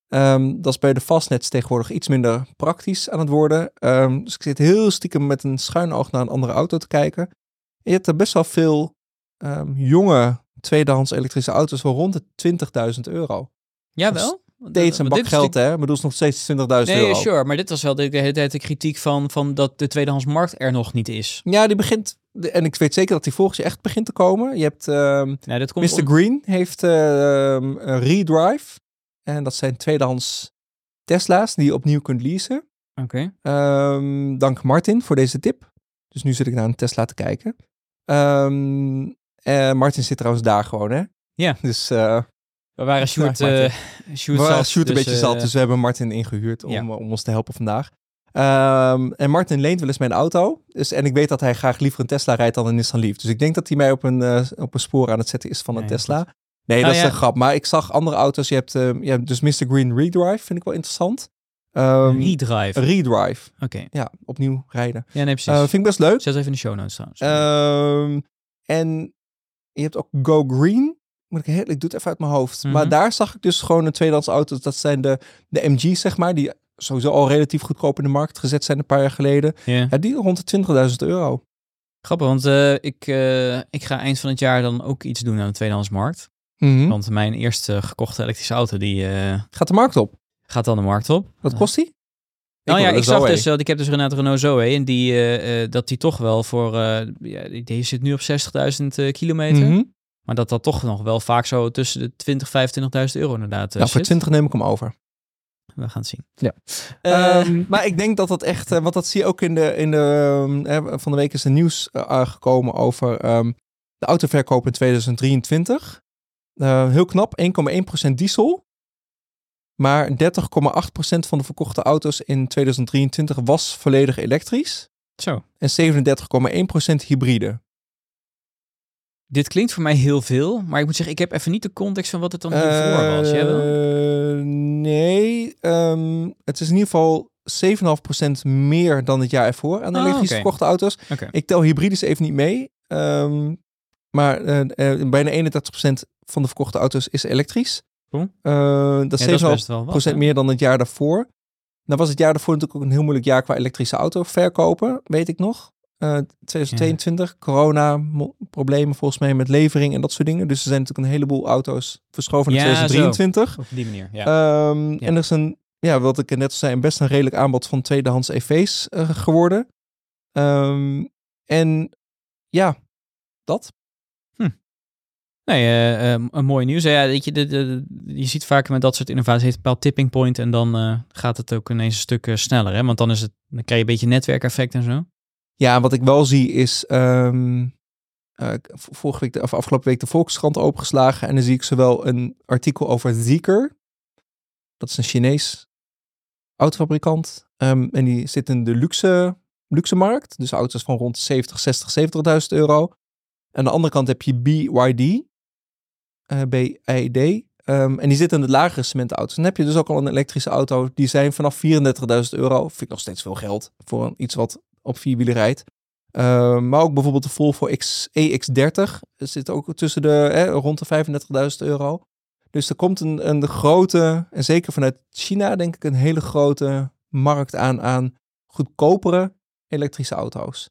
[SPEAKER 1] Ehm, dat is bij de vastnets tegenwoordig iets minder praktisch aan het worden. Ehm, dus ik zit heel stiekem met een schuin oog naar een andere auto te kijken. En je hebt er best wel veel ehm, jonge tweedehands elektrische auto's voor rond de 20.000 euro.
[SPEAKER 2] Jawel.
[SPEAKER 1] Steeds
[SPEAKER 2] Want
[SPEAKER 1] een bak
[SPEAKER 2] dit is natuurlijk-
[SPEAKER 1] geld, hè? Ik bedoel, het is nog steeds 20.000
[SPEAKER 2] Nee,
[SPEAKER 1] euro.
[SPEAKER 2] sure. Maar dit was wel de, de hele tijd de kritiek van, van dat de tweedehandsmarkt er nog niet is.
[SPEAKER 1] Ja, die begint. En ik weet zeker dat die volgens je echt begint te komen. Je hebt ehm,
[SPEAKER 2] Nou, dat komt
[SPEAKER 1] Mr. Green heeft ehm, een Redrive. En dat zijn tweedehands Tesla's die je opnieuw kunt leasen.
[SPEAKER 2] Oké.
[SPEAKER 1] Ehm, dank Martin voor deze tip. Dus nu zit ik naar een Tesla te kijken. Ehm, en Martin zit trouwens daar gewoon, hè?
[SPEAKER 2] Ja.
[SPEAKER 1] Dus eh
[SPEAKER 2] We waren Sjoerd...
[SPEAKER 1] Vraag Maarten.
[SPEAKER 2] eh
[SPEAKER 1] we
[SPEAKER 2] Sjoerd
[SPEAKER 1] waren
[SPEAKER 2] zat,
[SPEAKER 1] Sjoerd een
[SPEAKER 2] dus,
[SPEAKER 1] beetje
[SPEAKER 2] eh,
[SPEAKER 1] zat, dus we hebben Martin ingehuurd om,
[SPEAKER 2] ja.
[SPEAKER 1] eh, om ons te helpen vandaag. Ehm, en Martin leent wel eens mijn auto. Dus, en ik weet dat hij graag liever een Tesla rijdt dan een Nissan Leaf. Dus ik denk dat hij mij op een, eh, op een spoor aan het zetten is van een
[SPEAKER 2] Nee,
[SPEAKER 1] Tesla. Nee,
[SPEAKER 2] Nou
[SPEAKER 1] dat
[SPEAKER 2] ja.
[SPEAKER 1] is een grap. Maar ik zag andere auto's. Je hebt, ehm, je hebt dus Mr. Green Redrive, vind ik wel interessant. Ehm,
[SPEAKER 2] Redrive.
[SPEAKER 1] Redrive.
[SPEAKER 2] Oké.
[SPEAKER 1] Ja, opnieuw rijden.
[SPEAKER 2] Ja, nee,
[SPEAKER 1] Eh,
[SPEAKER 2] precies.
[SPEAKER 1] vind ik best leuk.
[SPEAKER 2] Zet even in de show notes trouwens.
[SPEAKER 1] Ehm, en je hebt ook Go Green. Moet ik, heel, ik doe het even uit mijn hoofd.
[SPEAKER 2] Mhm.
[SPEAKER 1] Maar daar zag ik dus gewoon een tweedehands auto's. Dat zijn de, de MG's, zeg maar. Die sowieso al relatief goedkoop in de markt gezet zijn een paar jaar geleden.
[SPEAKER 2] Ja.
[SPEAKER 1] Ja, die rond de 20.000 euro.
[SPEAKER 2] Grappig, want eh, ik, eh, ik ga eind van het jaar dan ook iets doen aan de tweedehandsmarkt.
[SPEAKER 1] Mhm.
[SPEAKER 2] Want mijn eerste gekochte elektrische auto die eh,
[SPEAKER 1] Gaat de markt op.
[SPEAKER 2] gaat dan de markt op.
[SPEAKER 1] Wat kost die?
[SPEAKER 2] Nou ja,
[SPEAKER 1] wil
[SPEAKER 2] ik
[SPEAKER 1] de
[SPEAKER 2] zag
[SPEAKER 1] Zoe.
[SPEAKER 2] dus, dat ik heb dus Renato Renault Zoe en die, eh, eh, dat die toch wel voor, eh, ja, die, die zit nu op 60.000 eh, kilometer.
[SPEAKER 1] Mhm.
[SPEAKER 2] Maar dat dat toch nog wel vaak zo tussen de 20 25.000 euro inderdaad eh,
[SPEAKER 1] Nou, voor
[SPEAKER 2] zit.
[SPEAKER 1] 20 neem ik hem over.
[SPEAKER 2] We gaan het zien.
[SPEAKER 1] Ja.
[SPEAKER 2] Eh,
[SPEAKER 1] Ehm, maar ik denk dat dat echt, eh, want dat zie je ook in de, in de ehm, hè, van de week is er nieuws eh, eh, gekomen over ehm, de autoverkoop in 2023. Eh, heel knap, 1,1% diesel. Maar 30,8% van de verkochte auto's in 2023 was volledig elektrisch.
[SPEAKER 2] zo.
[SPEAKER 1] En 37,1% hybride.
[SPEAKER 2] Dit klinkt voor mij heel veel, maar ik moet zeggen, ik heb even niet de context van wat het dan hiervoor was. Jij wel?
[SPEAKER 1] Eh, nee, ehm, het is in ieder geval 7,5% meer dan het jaar ervoor aan
[SPEAKER 2] Ah,
[SPEAKER 1] elektrisch
[SPEAKER 2] oké.
[SPEAKER 1] verkochte auto's.
[SPEAKER 2] Oké.
[SPEAKER 1] Ik tel hybrides even niet mee. ehm, maar eh, eh, bijna 31% van de verkochte auto's is elektrisch.
[SPEAKER 2] Cool.
[SPEAKER 1] Eh,
[SPEAKER 2] Ja,
[SPEAKER 1] dat is 7,5%
[SPEAKER 2] wel wat,
[SPEAKER 1] procent
[SPEAKER 2] hè?
[SPEAKER 1] meer dan het jaar daarvoor. Dan was het jaar daarvoor natuurlijk ook een heel moeilijk jaar qua elektrische auto verkopen, weet ik nog. Eh, 2022, corona, mo- problemen volgens mij met levering en dat soort dingen. Dus er zijn natuurlijk een heleboel auto's verschoven naar
[SPEAKER 2] Ja, zo.
[SPEAKER 1] 2023.
[SPEAKER 2] Op die manier, ja.
[SPEAKER 1] Ehm,
[SPEAKER 2] Ja.
[SPEAKER 1] En er is een, ja, wat ik net al zei, een best een redelijk aanbod van tweedehands EV's eh, geworden. Ehm, en ja, dat.
[SPEAKER 2] Nee, eh, eh, een mooi nieuws. Ja, weet je, de, de- de- je ziet vaak met dat soort innovaties heeft een bepaald tipping point en dan eh, gaat het ook ineens een stuk eh, sneller. Hè? Want dan, is het, dan krijg je een beetje netwerkeffect en zo.
[SPEAKER 1] Ja, wat ik wel zie is. ehm, eh, ik- v- vorige week, de- of afgelopen week, de Volkskrant opengeslagen. En dan zie ik zowel een artikel over Zeker. Dat is een Chinees autofabrikant. Ehm, en die zit in de luxe, luxe markt. Dus auto's van rond 70, 60, 70.000 euro. Aan de andere kant heb je BYD. eh BID. Ehm, en die zit in de lagere segmentauto's. Dan heb je dus ook al een elektrische auto. Die zijn vanaf 34.000 euro. Vind ik nog steeds veel geld voor een- iets wat op vier wielen rijdt. Ehm, maar ook bijvoorbeeld de Volvo X, EX30 zit ook tussen de hè, rond de 35.000 euro. Dus er komt een, een grote, en zeker vanuit China denk ik, een hele grote markt aan aan goedkopere elektrische auto's.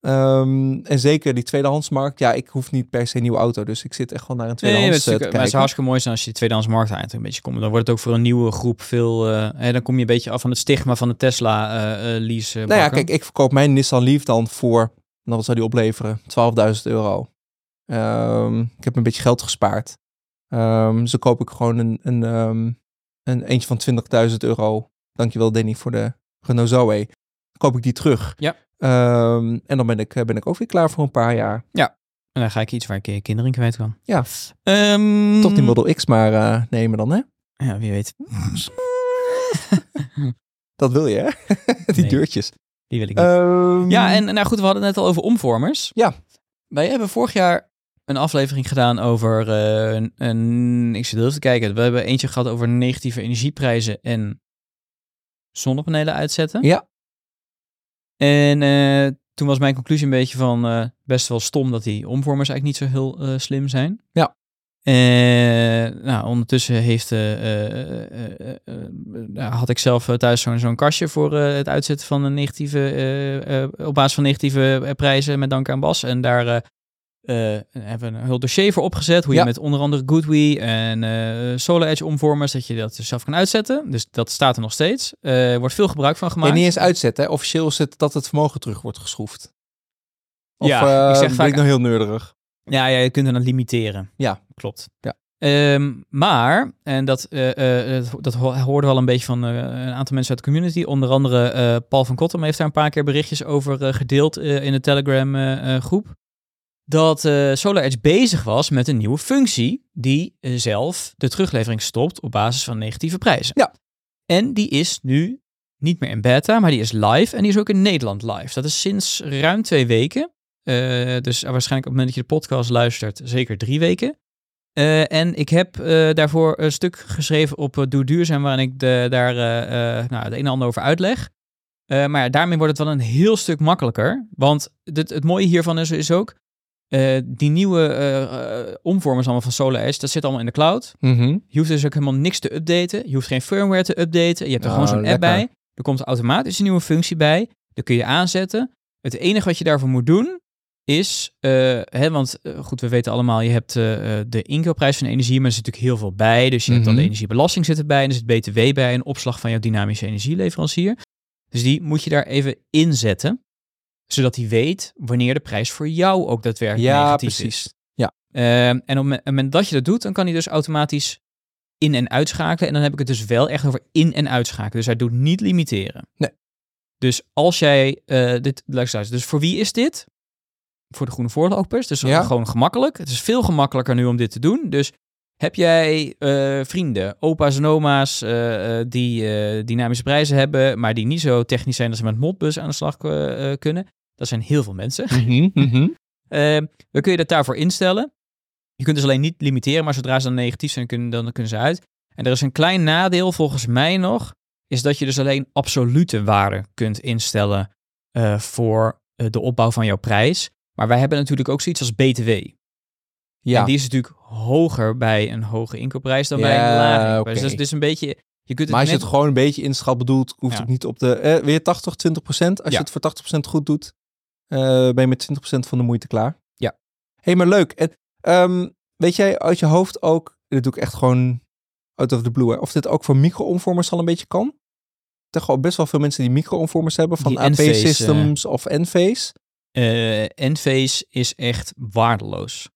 [SPEAKER 1] Ehm, en zeker die tweedehandsmarkt. Ja, ik hoef niet per se een nieuwe auto, dus ik zit echt wel naar een
[SPEAKER 2] Nee, maar het, is
[SPEAKER 1] tweedehands eh, te
[SPEAKER 2] natuurlijk- maar het zou
[SPEAKER 1] kijken.
[SPEAKER 2] hartstikke mooi zijn als je die tweedehands markt eigenlijk een beetje komt. Dan wordt het ook voor een nieuwe groep veel... eh, hè, dan kom je een beetje af van het stigma van de Tesla eh, eh, lease eh,
[SPEAKER 1] Nou ja,
[SPEAKER 2] bakken.
[SPEAKER 1] kijk, ik verkoop mijn Nissan Leaf dan voor, nou, wat zou die opleveren? 12.000 euro. Ehm, ik heb een beetje geld gespaard. Ehm zo koop ik gewoon een, een, ehm, een eentje van 20.000 euro. Dankjewel Danny voor de Renault Zoe. Dan koop ik die terug.
[SPEAKER 2] Ja.
[SPEAKER 1] Ehm, en dan ben ik, ben ik ook weer klaar voor een paar jaar.
[SPEAKER 2] En dan ga ik iets waar ik je kinderen in kwijt kan.
[SPEAKER 1] Ja.
[SPEAKER 2] Ehm,
[SPEAKER 1] Toch die Model X maar eh, nemen dan, hè?
[SPEAKER 2] Ja, wie weet.
[SPEAKER 1] Dat wil je, hè? die
[SPEAKER 2] Nee.
[SPEAKER 1] deurtjes.
[SPEAKER 2] Die wil ik niet.
[SPEAKER 1] Ehm,
[SPEAKER 2] Ja, en nou goed, we hadden het net al over omvormers.
[SPEAKER 1] Ja.
[SPEAKER 2] Wij hebben vorig jaar een aflevering gedaan over, eh, een, een- ik zit heel even te kijken, we hebben eentje gehad over negatieve energieprijzen en zonnepanelen uitzetten.
[SPEAKER 1] Ja.
[SPEAKER 2] En eh, toen was mijn conclusie een beetje van eh, best wel stom dat die omvormers eigenlijk niet zo heel eh, slim zijn.
[SPEAKER 1] Ja.
[SPEAKER 2] Eh, nou, ondertussen heeft, eh, eh, eh, eh, eh, nou, had ik zelf eh, thuis zo'n zo'n kastje voor eh, het uitzetten van een negatieve, eh, eh, op basis van negatieve eh, prijzen met dank aan Bas. En daar eh, eh, hebben we een heel dossier voor opgezet. Hoe
[SPEAKER 1] Ja.
[SPEAKER 2] je met onder andere GoodWe en eh Solar Edge omvormers, dat je dat dus zelf kan uitzetten. Dus dat staat er nog steeds. Eh, Er wordt veel gebruik van
[SPEAKER 1] En
[SPEAKER 2] gemaakt.
[SPEAKER 1] niet eens uitzetten, hè? Officieel is het dat het vermogen terug wordt geschroefd. Of
[SPEAKER 2] Ja, ik
[SPEAKER 1] eh,
[SPEAKER 2] zeg
[SPEAKER 1] ben
[SPEAKER 2] vaak-
[SPEAKER 1] ik nou heel neurderig?
[SPEAKER 2] Ja, ja, je kunt hem dan limiteren.
[SPEAKER 1] Ja.
[SPEAKER 2] Klopt.
[SPEAKER 1] Ja.
[SPEAKER 2] Ehm, maar, en dat, eh, eh, dat ho- hoorden we al een beetje van eh, een aantal mensen uit de community. Onder andere eh, Paul van Kottem heeft daar een paar keer berichtjes over eh, gedeeld eh, in de Telegram eh, eh, groep. Dat eh Solar Edge bezig was met een nieuwe functie die eh, zelf de teruglevering stopt op basis van negatieve prijzen.
[SPEAKER 1] Ja.
[SPEAKER 2] En die is nu niet meer in beta, maar die is live en die is ook in Nederland live. Dat is sinds ruim twee weken. Eh, dus waarschijnlijk op het moment dat je de podcast luistert, zeker drie weken. Eh, en ik heb eh, daarvoor een stuk geschreven op eh, Doe Duurzaam, waarin ik de, daar eh, eh, nou, het een en ander over uitleg. Eh, maar ja, daarmee wordt het wel een heel stuk makkelijker. Want dit, het mooie hiervan is, is ook, eh, die nieuwe eh, eh, omvormers allemaal van Solar Edge, dat zit allemaal in de cloud.
[SPEAKER 1] Mhm.
[SPEAKER 2] Je hoeft dus ook helemaal niks te updaten. Je hoeft geen firmware te updaten. Je hebt er
[SPEAKER 1] Nou,
[SPEAKER 2] gewoon zo'n app
[SPEAKER 1] lekker.
[SPEAKER 2] bij. Er komt automatisch een nieuwe functie bij. Dat kun je aanzetten. Het enige wat je daarvoor moet doen is, eh, hè, want eh, goed, we weten allemaal, je hebt eh, eh, de inkoopprijs van energie, maar er zit natuurlijk heel veel bij. Dus je hebt dan de
[SPEAKER 1] Mhm.
[SPEAKER 2] energiebelasting zit erbij en er zit BTW bij en opslag van jouw dynamische energieleverancier. Dus die moet je daar even inzetten, zodat hij weet wanneer de prijs voor jou ook daadwerkelijk
[SPEAKER 1] Ja,
[SPEAKER 2] negatief is.
[SPEAKER 1] precies.
[SPEAKER 2] Ehm, en op het moment dat je dat doet, dan kan hij dus automatisch in- en uitschakelen. En dan heb ik het dus wel echt over in- en uitschakelen. Dus hij doet niet limiteren.
[SPEAKER 1] Nee.
[SPEAKER 2] Dus als jij eh, dit luistert, dus voor wie is dit? Voor de groene voorlopers. Dus
[SPEAKER 1] Ja.
[SPEAKER 2] gewoon gemakkelijk. Het is veel gemakkelijker nu om dit te doen. Dus heb jij eh, vrienden, opa's en oma's eh, eh, die eh, dynamische prijzen hebben, maar die niet zo technisch zijn dat ze met Modbus aan de slag eh, eh, kunnen? Dat zijn heel veel mensen. Ehm, dan kun je dat daarvoor instellen. Je kunt dus alleen niet limiteren, maar zodra ze dan negatief zijn, kunnen, dan kunnen ze uit. En er is een klein nadeel volgens mij nog, is dat je dus alleen absolute waarde kunt instellen eh, voor eh, de opbouw van jouw prijs. Maar wij hebben natuurlijk ook zoiets als BTW. En
[SPEAKER 1] Ja,
[SPEAKER 2] die is natuurlijk hoger bij een hoge inkoopprijs dan bij
[SPEAKER 1] Ja,
[SPEAKER 2] een lage inkoopprijs.
[SPEAKER 1] oké.
[SPEAKER 2] Dus het is dus een beetje, je kunt het
[SPEAKER 1] maar als je
[SPEAKER 2] net-
[SPEAKER 1] het gewoon een beetje inschat bedoelt, hoeft
[SPEAKER 2] Ja.
[SPEAKER 1] het niet op de... eh, weer 80, 20 procent. Als
[SPEAKER 2] Ja.
[SPEAKER 1] je het voor 80 procent goed doet, eh, ben je met 20 procent van de moeite klaar.
[SPEAKER 2] Ja.
[SPEAKER 1] hey, maar leuk. En, ehm, weet jij uit je hoofd ook, dit doe ik echt gewoon out of the blue, hè, of dit ook voor micro-omvormers al een beetje kan? Er zijn gewoon best wel veel mensen die micro-omvormers hebben, van
[SPEAKER 2] Die NV's, eh,
[SPEAKER 1] AP-systems of NV's.
[SPEAKER 2] eh Enphase is echt waardeloos.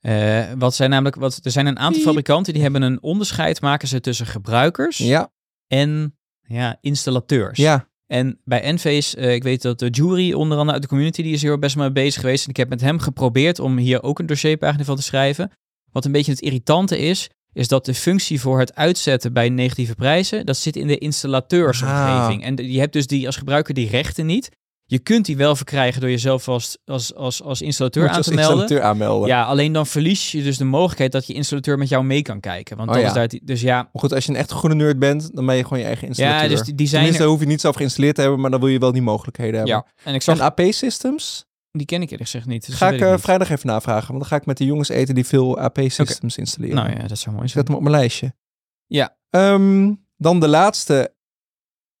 [SPEAKER 2] Eh, wat zijn namelijk, wat, er zijn een aantal
[SPEAKER 1] Piep.
[SPEAKER 2] fabrikanten die hebben een onderscheid maken ze tussen gebruikers
[SPEAKER 1] Ja,
[SPEAKER 2] en ja, installateurs.
[SPEAKER 1] ja.
[SPEAKER 2] En bij Enphase, eh, ik weet dat de jury onder andere uit de community, die is hier best mee bezig geweest. En ik heb met hem geprobeerd om hier ook een dossierpagina van te schrijven. Wat een beetje het irritante is, is dat de functie voor het uitzetten bij negatieve prijzen, dat zit in de installateursomgeving.
[SPEAKER 1] Ah.
[SPEAKER 2] En de- je hebt dus die, als gebruiker die rechten niet. Je kunt die wel verkrijgen door jezelf als, als, als, als installateur
[SPEAKER 1] Moet je
[SPEAKER 2] aan
[SPEAKER 1] als
[SPEAKER 2] te melden.
[SPEAKER 1] installateur aanmelden.
[SPEAKER 2] Ja, alleen dan verlies je dus de mogelijkheid dat je installateur met jou mee kan kijken. Want
[SPEAKER 1] Oh
[SPEAKER 2] dat
[SPEAKER 1] ja.
[SPEAKER 2] is daar, het- dus ja,
[SPEAKER 1] Maar goed, als je een echt groene nerd bent, dan ben je gewoon je eigen installateur.
[SPEAKER 2] ja dus die, die zijn
[SPEAKER 1] Tenminste,
[SPEAKER 2] er.
[SPEAKER 1] hoef je niet zelf geïnstalleerd te hebben, maar dan wil je wel die mogelijkheden hebben.
[SPEAKER 2] Ja, en ik zag, Dus
[SPEAKER 1] Zo'n AP-systems,
[SPEAKER 2] die ken ik eerlijk gezegd niet. Dus
[SPEAKER 1] ga
[SPEAKER 2] dat
[SPEAKER 1] ik
[SPEAKER 2] weet
[SPEAKER 1] eh,
[SPEAKER 2] niet.
[SPEAKER 1] vrijdag even navragen. Want dan ga ik met de jongens eten die veel AP-systems installeren.
[SPEAKER 2] Nou ja, dat zou mooi
[SPEAKER 1] Ik
[SPEAKER 2] zijn.
[SPEAKER 1] zet hem op mijn lijstje.
[SPEAKER 2] Ja.
[SPEAKER 1] Ehm, dan de laatste.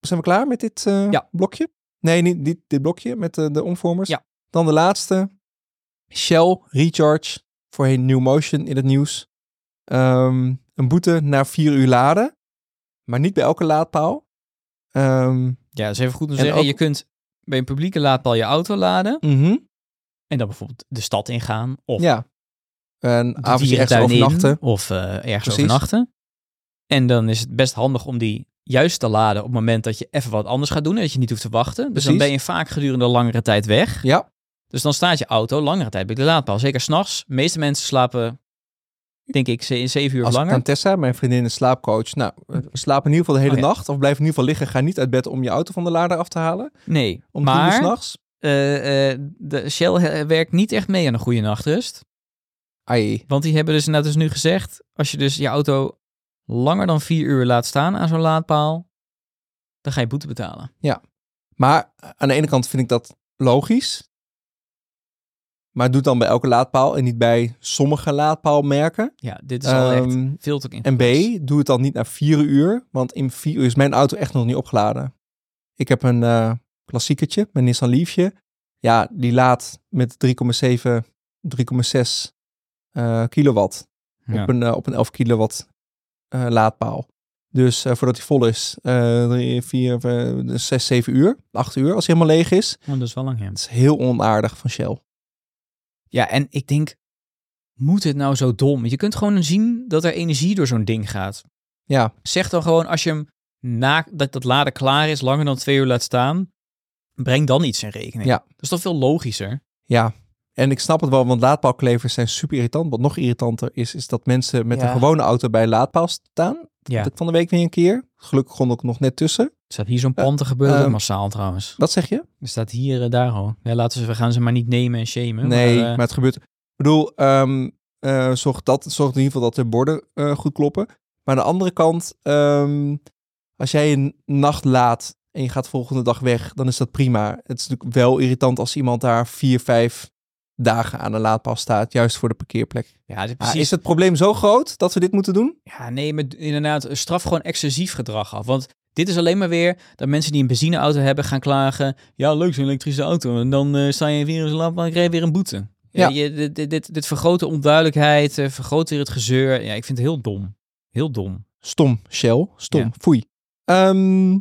[SPEAKER 1] Zijn we klaar met dit eh,
[SPEAKER 2] Ja.
[SPEAKER 1] blokje? Nee, niet dit, dit blokje met eh, de omvormers.
[SPEAKER 2] Ja.
[SPEAKER 1] Dan de laatste. Shell Recharge, voorheen New Motion in het nieuws. Ehm, een boete na vier uur laden. Maar niet bij elke laadpaal. Ehm,
[SPEAKER 2] Ja, dat is even goed om te
[SPEAKER 1] En
[SPEAKER 2] zeggen.
[SPEAKER 1] ook-
[SPEAKER 2] Je kunt bij een publieke laadpaal je auto laden
[SPEAKER 1] mhm,
[SPEAKER 2] en dan bijvoorbeeld de stad ingaan of
[SPEAKER 1] Ja. Een
[SPEAKER 2] de
[SPEAKER 1] avondje extra
[SPEAKER 2] dierentuin in
[SPEAKER 1] overnachten.
[SPEAKER 2] of eh, ergens
[SPEAKER 1] Precies.
[SPEAKER 2] overnachten. En dan is het best handig om die juist te laden op het moment dat je even wat anders gaat doen en dat je niet hoeft te wachten. Dus dan
[SPEAKER 1] Precies.
[SPEAKER 2] ben je vaak gedurende langere tijd weg.
[SPEAKER 1] Ja.
[SPEAKER 2] Dus dan staat je auto langere tijd bij de laadpaal. Zeker s'nachts. De meeste mensen slapen, denk ik, ze- zeven uur of
[SPEAKER 1] Als ik
[SPEAKER 2] langer. Mm.
[SPEAKER 1] aan Tessa, mijn vriendin, een slaapcoach. Nou, eh, slaap in ieder geval de hele
[SPEAKER 2] Oh ja.
[SPEAKER 1] nacht. Of blijf in ieder geval liggen. Ga niet uit bed om je auto van de lader af te halen.
[SPEAKER 2] Nee,
[SPEAKER 1] Om drie uur
[SPEAKER 2] maar
[SPEAKER 1] s'nachts.
[SPEAKER 2] eh, eh, de Shell eh, werkt niet echt mee aan een goede nachtrust.
[SPEAKER 1] Ai.
[SPEAKER 2] Want die hebben dus inderdaad dus nu gezegd, als je dus je auto langer dan vier uur laat staan aan zo'n laadpaal, dan ga je boete betalen.
[SPEAKER 1] Maar aan de ene kant vind ik dat logisch. Maar doe het dan bij elke laadpaal en niet bij sommige laadpaalmerken.
[SPEAKER 2] Ja, dit is al echt
[SPEAKER 1] Ehm,
[SPEAKER 2] veel te ingewikkeld.
[SPEAKER 1] en B, doe het dan niet na vier uur. Want in vier uur is mijn auto echt nog niet opgeladen. Ik heb een eh klassiekertje, mijn Nissan Leafje. Ja, die laadt met 3,7, 3,6 eh, kilowatt.
[SPEAKER 2] Ja.
[SPEAKER 1] op, een, eh, op een 11 kilowatt eh, laadpaal. Dus eh, voordat hij vol is, eh, drie, vier, eh, zes, zeven uur, acht uur als hij helemaal leeg is.
[SPEAKER 2] Want Oh, dat is wel lang, ja.
[SPEAKER 1] Dat is heel onaardig van Shell.
[SPEAKER 2] Ja, en ik denk, moet het nou zo dom? Je kunt gewoon zien dat er energie door zo'n ding gaat.
[SPEAKER 1] Ja.
[SPEAKER 2] Zeg dan gewoon, als je hem na dat dat laden klaar is, langer dan twee uur laat staan, breng dan iets in rekening.
[SPEAKER 1] Ja.
[SPEAKER 2] Dat is toch veel logischer?
[SPEAKER 1] Ja, en ik snap het wel, want laadpaalklevers zijn super irritant. Wat nog irritanter is, is dat mensen met
[SPEAKER 2] Ja.
[SPEAKER 1] een gewone auto bij een laadpaal staan.
[SPEAKER 2] Ja.
[SPEAKER 1] Dat van de week weer een keer. Gelukkig kon ik nog net tussen.
[SPEAKER 2] Er staat hier zo'n pand te gebeuren,
[SPEAKER 1] ehm,
[SPEAKER 2] massaal trouwens.
[SPEAKER 1] Wat zeg je?
[SPEAKER 2] Er staat hier, eh, daar al. Ja, laten ze, we gaan ze maar niet nemen en shamen.
[SPEAKER 1] Nee,
[SPEAKER 2] maar, eh,
[SPEAKER 1] maar het gebeurt. Ik bedoel, ehm, eh, zorg, dat, zorg in ieder geval dat de borden eh, goed kloppen. Maar aan de andere kant, ehm, als jij een nacht laat en je gaat de volgende dag weg, dan is dat prima. Het is natuurlijk wel irritant als iemand daar vier, vijf dagen aan de laadpaal staat, juist voor de parkeerplek.
[SPEAKER 2] ja, dit-
[SPEAKER 1] Ah,
[SPEAKER 2] precies.
[SPEAKER 1] is het probleem zo groot dat we dit moeten doen?
[SPEAKER 2] Ja, nee, maar d- inderdaad, straf gewoon excessief gedrag af. Want dit is alleen maar weer dat mensen die een benzineauto hebben gaan klagen. Ja, leuk zo'n elektrische auto. En dan eh, sta je weer in zo'n lamp en krijg je weer een boete. Ja.
[SPEAKER 1] Ja.
[SPEAKER 2] je, dit, dit- dit, dit vergroot de onduidelijkheid, eh, vergroot weer het gezeur. Ja, ik vind het heel dom. Heel dom.
[SPEAKER 1] Stom, Shell. Stom,
[SPEAKER 2] Ja.
[SPEAKER 1] foei. Ehm,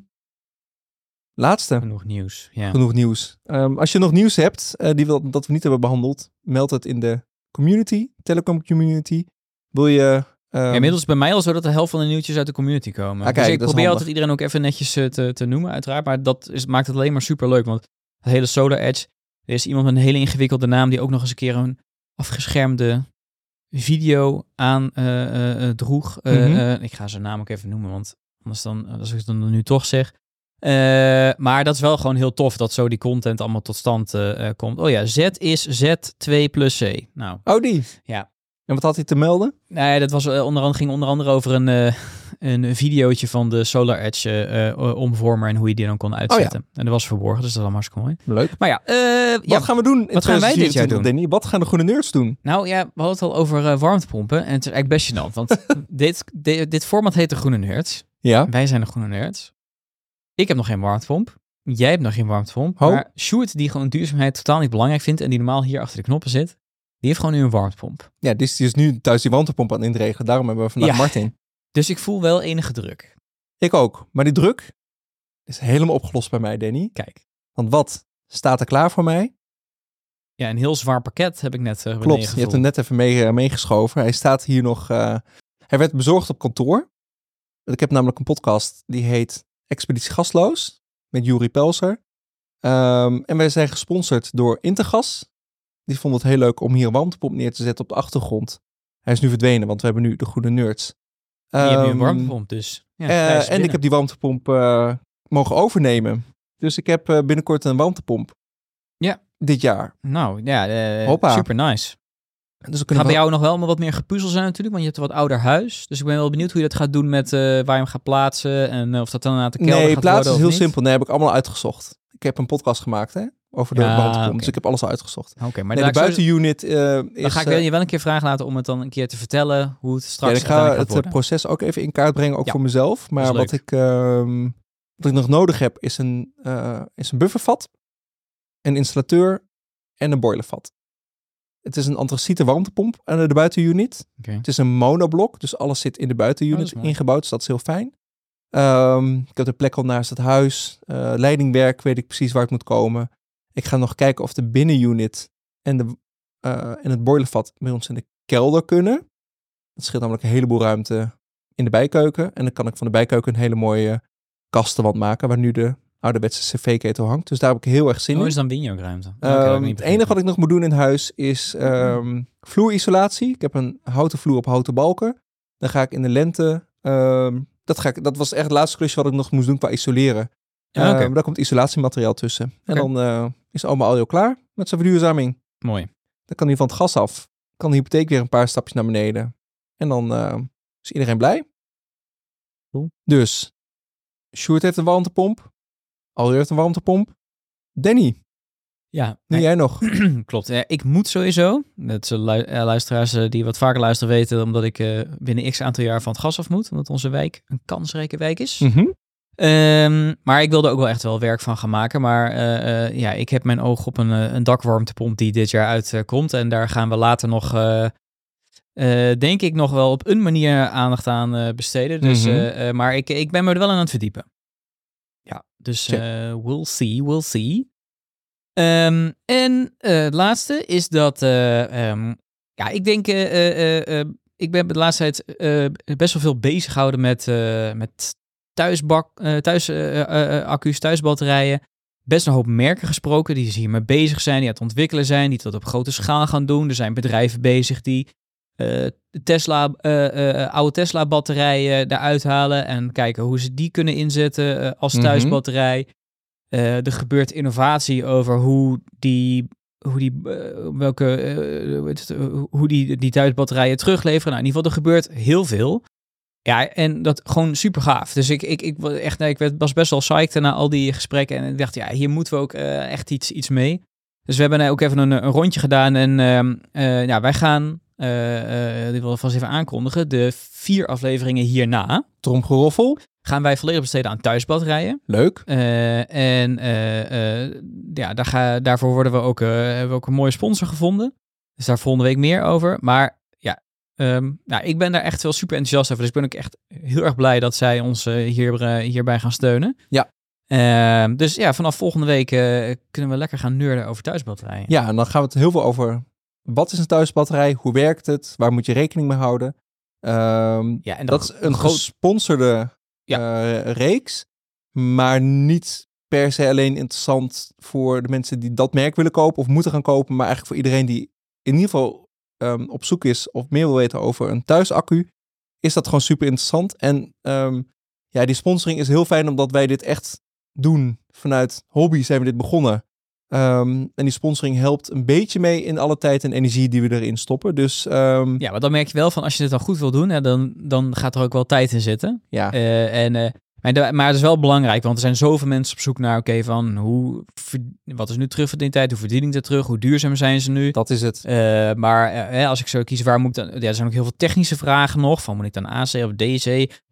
[SPEAKER 1] laatste.
[SPEAKER 2] Genoeg nieuws. Ja.
[SPEAKER 1] genoeg nieuws. Ehm, als je nog nieuws hebt eh, die we, dat we niet hebben behandeld, meld het in de community, telecom community. Wil je... ehm,
[SPEAKER 2] Ja, inmiddels is het bij mij al zo dat de helft van de nieuwtjes uit de community komen.
[SPEAKER 1] Ah, kijk,
[SPEAKER 2] dus ik
[SPEAKER 1] dat is
[SPEAKER 2] probeer
[SPEAKER 1] handig.
[SPEAKER 2] altijd iedereen ook even netjes eh, te, te noemen, uiteraard. Maar dat is, maakt het alleen maar super leuk. Want het hele Solar Edge, er is iemand met een hele ingewikkelde naam die ook nog eens een keer een afgeschermde video aan eh, eh, eh, droeg. Eh,
[SPEAKER 1] Mhm.
[SPEAKER 2] eh, ik ga zijn naam ook even noemen, want anders dan, eh, als ik het dan nu toch zeg. Eh, maar dat is wel gewoon heel tof dat zo die content allemaal tot stand eh, eh, komt. Oh ja, Z is Z2 plus C. Nou,
[SPEAKER 1] Oh, die.
[SPEAKER 2] Ja.
[SPEAKER 1] En wat had hij te melden?
[SPEAKER 2] nou ja, dat was, eh, onder andere, ging onder andere over een, eh een videootje van de Solar Edge eh, eh, omvormer en hoe je die dan
[SPEAKER 1] Oh
[SPEAKER 2] kon uitzetten. En dat was verborgen, dus dat is allemaal hartstikke mooi.
[SPEAKER 1] Leuk.
[SPEAKER 2] Maar ja, eh, ja
[SPEAKER 1] wat gaan we doen in
[SPEAKER 2] wat gaan wij dit jaar
[SPEAKER 1] 2024,
[SPEAKER 2] doen?
[SPEAKER 1] Danny? Wat gaan de groene nerds doen?
[SPEAKER 2] nou ja, we hadden het al over eh, warmtepompen en het is eigenlijk best gênant, want dit, dit, dit format heet de Groene Nerds.
[SPEAKER 1] Ja.
[SPEAKER 2] Wij zijn de Groene Nerds. Ik heb nog geen warmtepomp. Jij hebt nog geen warmtepomp.
[SPEAKER 1] Ho.
[SPEAKER 2] Maar Sjoerd, die gewoon duurzaamheid totaal niet belangrijk vindt en die normaal hier achter de knoppen zit, die heeft gewoon nu een warmtepomp.
[SPEAKER 1] Ja, die is, die is nu thuis die warmtepomp aan het inregen. Daarom hebben we vandaag
[SPEAKER 2] Ja.
[SPEAKER 1] Martin.
[SPEAKER 2] Dus ik voel wel enige druk.
[SPEAKER 1] Ik ook. Maar die druk is helemaal opgelost bij mij, Danny.
[SPEAKER 2] Kijk.
[SPEAKER 1] Want wat staat er klaar voor mij?
[SPEAKER 2] Ja, een heel zwaar pakket heb ik net eh
[SPEAKER 1] Klopt, je hebt hem net even mee, eh, meegeschoven. Hij staat hier nog. eh, hij werd bezorgd op kantoor. Ik heb namelijk een podcast die heet Expeditie Gasloos met Juri Pelser. Ehm, en wij zijn gesponsord door Intergas. Die vond het heel leuk om hier een warmtepomp neer te zetten op de achtergrond. Hij is nu verdwenen, want we hebben nu de Groene Nerds.
[SPEAKER 2] Die hebben nu een
[SPEAKER 1] Ehm,
[SPEAKER 2] warmtepomp, dus. Ja,
[SPEAKER 1] eh,
[SPEAKER 2] hij is
[SPEAKER 1] en ik
[SPEAKER 2] binnen.
[SPEAKER 1] heb die warmtepomp eh, mogen overnemen. Dus ik heb eh, binnenkort een warmtepomp.
[SPEAKER 2] Ja.
[SPEAKER 1] Dit jaar.
[SPEAKER 2] Nou, ja, eh,
[SPEAKER 1] Hoppa.
[SPEAKER 2] super nice.
[SPEAKER 1] Dus we
[SPEAKER 2] Gaat
[SPEAKER 1] kunnen
[SPEAKER 2] bij
[SPEAKER 1] wel-
[SPEAKER 2] jou nog wel maar wat meer gepuzzel zijn natuurlijk, want je hebt een wat ouder huis. Dus ik ben wel benieuwd hoe je dat gaat doen met eh, waar je hem gaat plaatsen en eh, of dat dan aan de kelder
[SPEAKER 1] Nee,
[SPEAKER 2] gaat
[SPEAKER 1] plaats
[SPEAKER 2] worden of
[SPEAKER 1] is heel
[SPEAKER 2] niet.
[SPEAKER 1] simpel. Nee, heb ik allemaal uitgezocht. Ik heb een podcast gemaakt hè, over de
[SPEAKER 2] Ja,
[SPEAKER 1] warmtepomp. Dus
[SPEAKER 2] oké.
[SPEAKER 1] ik heb alles uitgezocht.
[SPEAKER 2] Oké, maar
[SPEAKER 1] nee,
[SPEAKER 2] daar
[SPEAKER 1] de
[SPEAKER 2] ga ik sowieso-
[SPEAKER 1] buitenunit eh, is...
[SPEAKER 2] dan ga ik
[SPEAKER 1] eh,
[SPEAKER 2] wel- je wel een keer vragen laten om het dan een keer te vertellen hoe het
[SPEAKER 1] Ja,
[SPEAKER 2] straks
[SPEAKER 1] ik
[SPEAKER 2] uiteindelijk
[SPEAKER 1] ga
[SPEAKER 2] gaat
[SPEAKER 1] het eh,
[SPEAKER 2] worden.
[SPEAKER 1] proces ook even in kaart brengen, ook
[SPEAKER 2] Ja.
[SPEAKER 1] voor mezelf. Maar
[SPEAKER 2] Dat is
[SPEAKER 1] wat
[SPEAKER 2] leuk.
[SPEAKER 1] ik, ehm, wat ik nog nodig heb, is een, eh, is een buffervat, een installateur en een boilervat. Het is een antraciete warmtepomp aan de buitenunit.
[SPEAKER 2] Oké.
[SPEAKER 1] Het is een monoblok, dus alles zit in de
[SPEAKER 2] Oh, dat
[SPEAKER 1] buitenunit
[SPEAKER 2] is mooi.
[SPEAKER 1] ingebouwd, dus dat is heel fijn. Ehm, ik heb de plek al naast het huis. Eh, leidingwerk weet ik precies waar het moet komen. Ik ga nog kijken of de binnenunit en, de, eh, en het boilervat bij ons in de kelder kunnen. Dat scheelt namelijk een heleboel ruimte in de bijkeuken. En dan kan ik van de bijkeuken een hele mooie kastenwand maken, waar nu de ouderwetse cv-ketel hangt. Dus daar heb ik heel erg zin
[SPEAKER 2] Oh,
[SPEAKER 1] in.
[SPEAKER 2] dus dan win je ook ruimte. Oké, dat
[SPEAKER 1] Ehm,
[SPEAKER 2] had ik niet Mm-hmm.
[SPEAKER 1] het enige wat ik nog moet doen in huis is ehm, vloerisolatie. Ik heb een houten vloer op houten balken. Dan ga ik in de lente. ehm, dat, ga ik, dat was echt het laatste klusje wat ik nog moest doen qua isoleren.
[SPEAKER 2] begrepen. Ah,
[SPEAKER 1] Ehm,
[SPEAKER 2] Oké,
[SPEAKER 1] daar komt isolatiemateriaal tussen. En
[SPEAKER 2] Oké.
[SPEAKER 1] dan eh, is allemaal audio klaar met zijn verduurzaming.
[SPEAKER 2] mooi.
[SPEAKER 1] Dan kan hij van het gas af. Kan de hypotheek weer een paar stapjes naar beneden. En dan eh, is iedereen blij.
[SPEAKER 2] Cool.
[SPEAKER 1] Dus, Sjoerd heeft een warmtepomp. Alweer heeft een warmtepomp. Danny,
[SPEAKER 2] Ja,
[SPEAKER 1] nu jij nog.
[SPEAKER 2] Klopt. Ja, ik moet sowieso. Dat zullen lu- eh, luisteraars eh, die wat vaker luisteren weten, omdat ik eh, binnen x aantal jaar van het gas af moet. Omdat onze wijk een kansrijke wijk is.
[SPEAKER 1] Mhm.
[SPEAKER 2] Ehm, maar ik wilde ook wel echt wel werk van gaan maken. Maar eh, eh, ja, ik heb mijn oog op een, eh, een dakwarmtepomp die dit jaar uitkomt. en daar gaan we later nog, eh, eh, denk ik, nog wel op een manier aandacht aan eh, besteden. Dus,
[SPEAKER 1] Mhm.
[SPEAKER 2] eh, eh, maar ik, ik ben me er wel aan aan het verdiepen. Ja, dus
[SPEAKER 1] Check.
[SPEAKER 2] eh, we'll see, we'll see. Ehm, en eh, het laatste is dat, eh, ehm, ja, ik denk eh, eh, eh, eh, ik ben de laatste tijd eh, best wel veel bezig gehouden met, eh, met thuisbak, eh, thuis, eh, eh, eh, accu's, thuisbatterijen. Best een hoop merken gesproken die dus hiermee bezig zijn, die aan het ontwikkelen zijn, die dat op grote schaal gaan doen. Er zijn bedrijven bezig die eh, Tesla, eh, eh, oude Tesla-batterijen eruit halen en kijken hoe ze die kunnen inzetten eh, als
[SPEAKER 1] Mhm.
[SPEAKER 2] thuisbatterij. Eh, er gebeurt innovatie over hoe die hoe die, eh, welke, eh, hoe het- hoe die, die thuisbatterijen terugleveren. Nou, in ieder geval, er gebeurt heel veel. Ja, en dat gewoon super gaaf. Dus ik, ik, ik, wa- echt, nee, ik werd- was best wel psyched na al die gesprekken. En ik dacht, ja, hier moeten we ook eh, echt iets, iets mee. Dus we hebben eh, ook even een, een rondje gedaan. En ehm, eh, ja, wij gaan, eh eh dit wil ik vast even aankondigen, de vier afleveringen hierna
[SPEAKER 1] Tromgeroffel,
[SPEAKER 2] gaan wij volledig besteden aan thuisbatterijen.
[SPEAKER 1] leuk.
[SPEAKER 2] Eh, en eh, eh, ja, daar ga, daarvoor worden we ook, eh, hebben we ook een mooie sponsor gevonden. Dus daar volgende week meer over. Maar ja, ehm, nou, ik ben daar echt wel super enthousiast over. Dus ik ben ook echt heel erg blij dat zij ons eh, hier, eh, hierbij gaan steunen.
[SPEAKER 1] Ja.
[SPEAKER 2] Ehm, dus ja, vanaf volgende week eh, kunnen we lekker gaan neurden over thuisbatterijen.
[SPEAKER 1] Ja, en dan gaan we het heel veel over wat is een thuisbatterij, hoe werkt het, waar moet je rekening mee houden. Ehm,
[SPEAKER 2] Ja, en
[SPEAKER 1] dat, is een gesponsorde
[SPEAKER 2] Nou, Ja.
[SPEAKER 1] eh, reeks, maar niet per se alleen interessant voor de mensen die dat merk willen kopen of moeten gaan kopen, maar eigenlijk voor iedereen die in ieder geval ehm, op zoek is of meer wil weten over een thuisaccu, is dat gewoon super interessant. En ehm, ja, die sponsoring is heel fijn omdat wij dit echt doen vanuit hobby zijn we dit begonnen. Ehm, en die sponsoring helpt een beetje mee in alle tijd en energie die we erin stoppen. Dus ehm,
[SPEAKER 2] Ja, maar dan merk je wel van als je het dan goed wil doen, hè, dan, dan gaat er ook wel tijd in zitten.
[SPEAKER 1] ja.
[SPEAKER 2] Eh, en, eh, maar, da- maar het is wel belangrijk, want er zijn zoveel mensen op zoek naar, oké, van hoe, ver- wat is nu terugverdientijd, hoe verdien ik dat terug, hoe duurzaam zijn ze nu?
[SPEAKER 1] dat is het.
[SPEAKER 2] Eh, maar eh, hè, als ik zo kies, waar moet ik dan? Ja, er zijn ook heel veel technische vragen nog. Van moet ik dan AC of DC?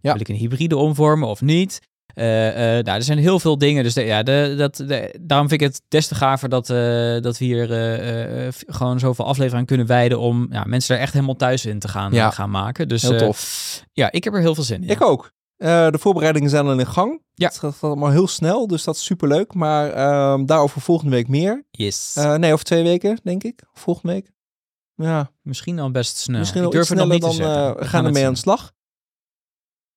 [SPEAKER 2] Wil ik een hybride omvormen of niet? Eh, eh, nou, er zijn heel veel dingen. Dus de- ja, de, dat, de- daarom vind ik het des te gaver dat, eh, dat we hier eh, eh, v- gewoon zoveel afleveringen aan kunnen wijden. Om ja, mensen er echt helemaal thuis in te gaan,
[SPEAKER 1] Ja.
[SPEAKER 2] gaan maken. Dus
[SPEAKER 1] Heel
[SPEAKER 2] eh,
[SPEAKER 1] tof.
[SPEAKER 2] ja, ik heb er heel veel zin in.
[SPEAKER 1] Ik ook. Eh, de voorbereidingen zijn al in gang.
[SPEAKER 2] Ja.
[SPEAKER 1] Het gaat allemaal heel snel, dus dat is superleuk. Maar ehm, daarover volgende week meer.
[SPEAKER 2] Yes.
[SPEAKER 1] Eh, nee, over twee weken, denk ik. Volgende week. Ja,
[SPEAKER 2] Misschien al best snel.
[SPEAKER 1] Misschien
[SPEAKER 2] ik
[SPEAKER 1] wel
[SPEAKER 2] durf
[SPEAKER 1] iets
[SPEAKER 2] het nog
[SPEAKER 1] sneller
[SPEAKER 2] niet
[SPEAKER 1] dan
[SPEAKER 2] te zeggen.
[SPEAKER 1] eh,
[SPEAKER 2] We
[SPEAKER 1] we gaan
[SPEAKER 2] het
[SPEAKER 1] ermee aan
[SPEAKER 2] zien.
[SPEAKER 1] de slag.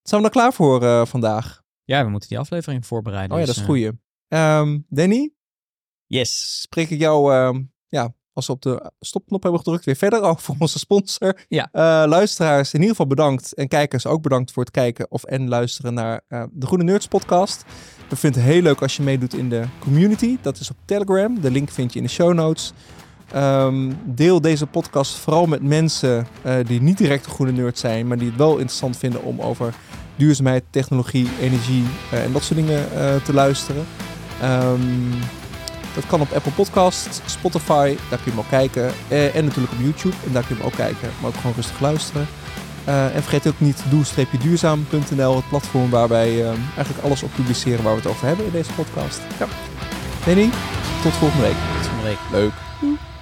[SPEAKER 1] Zijn we dan klaar voor eh, vandaag?
[SPEAKER 2] Ja, we moeten die aflevering voorbereiden.
[SPEAKER 1] oh ja,
[SPEAKER 2] dus,
[SPEAKER 1] dat is
[SPEAKER 2] eh,
[SPEAKER 1] goeie. Ehm Danny,
[SPEAKER 2] Yes.
[SPEAKER 1] spreek ik jou ehm, ja, als ze op de stopknop hebben gedrukt, weer verder af voor onze sponsor.
[SPEAKER 2] Ja.
[SPEAKER 1] Eh, luisteraars, in ieder geval bedankt. En kijkers ook bedankt voor het kijken of en luisteren naar eh, de Groene Nerds podcast. We vinden het heel leuk als je meedoet in de community. Dat is op Telegram. De link vind je in de show notes. Ehm, deel deze podcast vooral met mensen eh, die niet direct de Groene Nerd zijn, maar die het wel interessant vinden om over duurzaamheid, technologie, energie eh, en dat soort dingen eh, te luisteren. Ehm dat kan op Apple Podcasts, Spotify, daar kun je hem ook kijken. Eh, en natuurlijk op YouTube, en daar kun je hem ook kijken, maar ook gewoon rustig luisteren. Eh, en vergeet ook niet doe-duurzaam.nl, het platform waar wij ehm, eigenlijk alles op publiceren waar we het over hebben in deze podcast. Ja. Danny, tot volgende week.
[SPEAKER 2] Tot volgende week.
[SPEAKER 1] Leuk.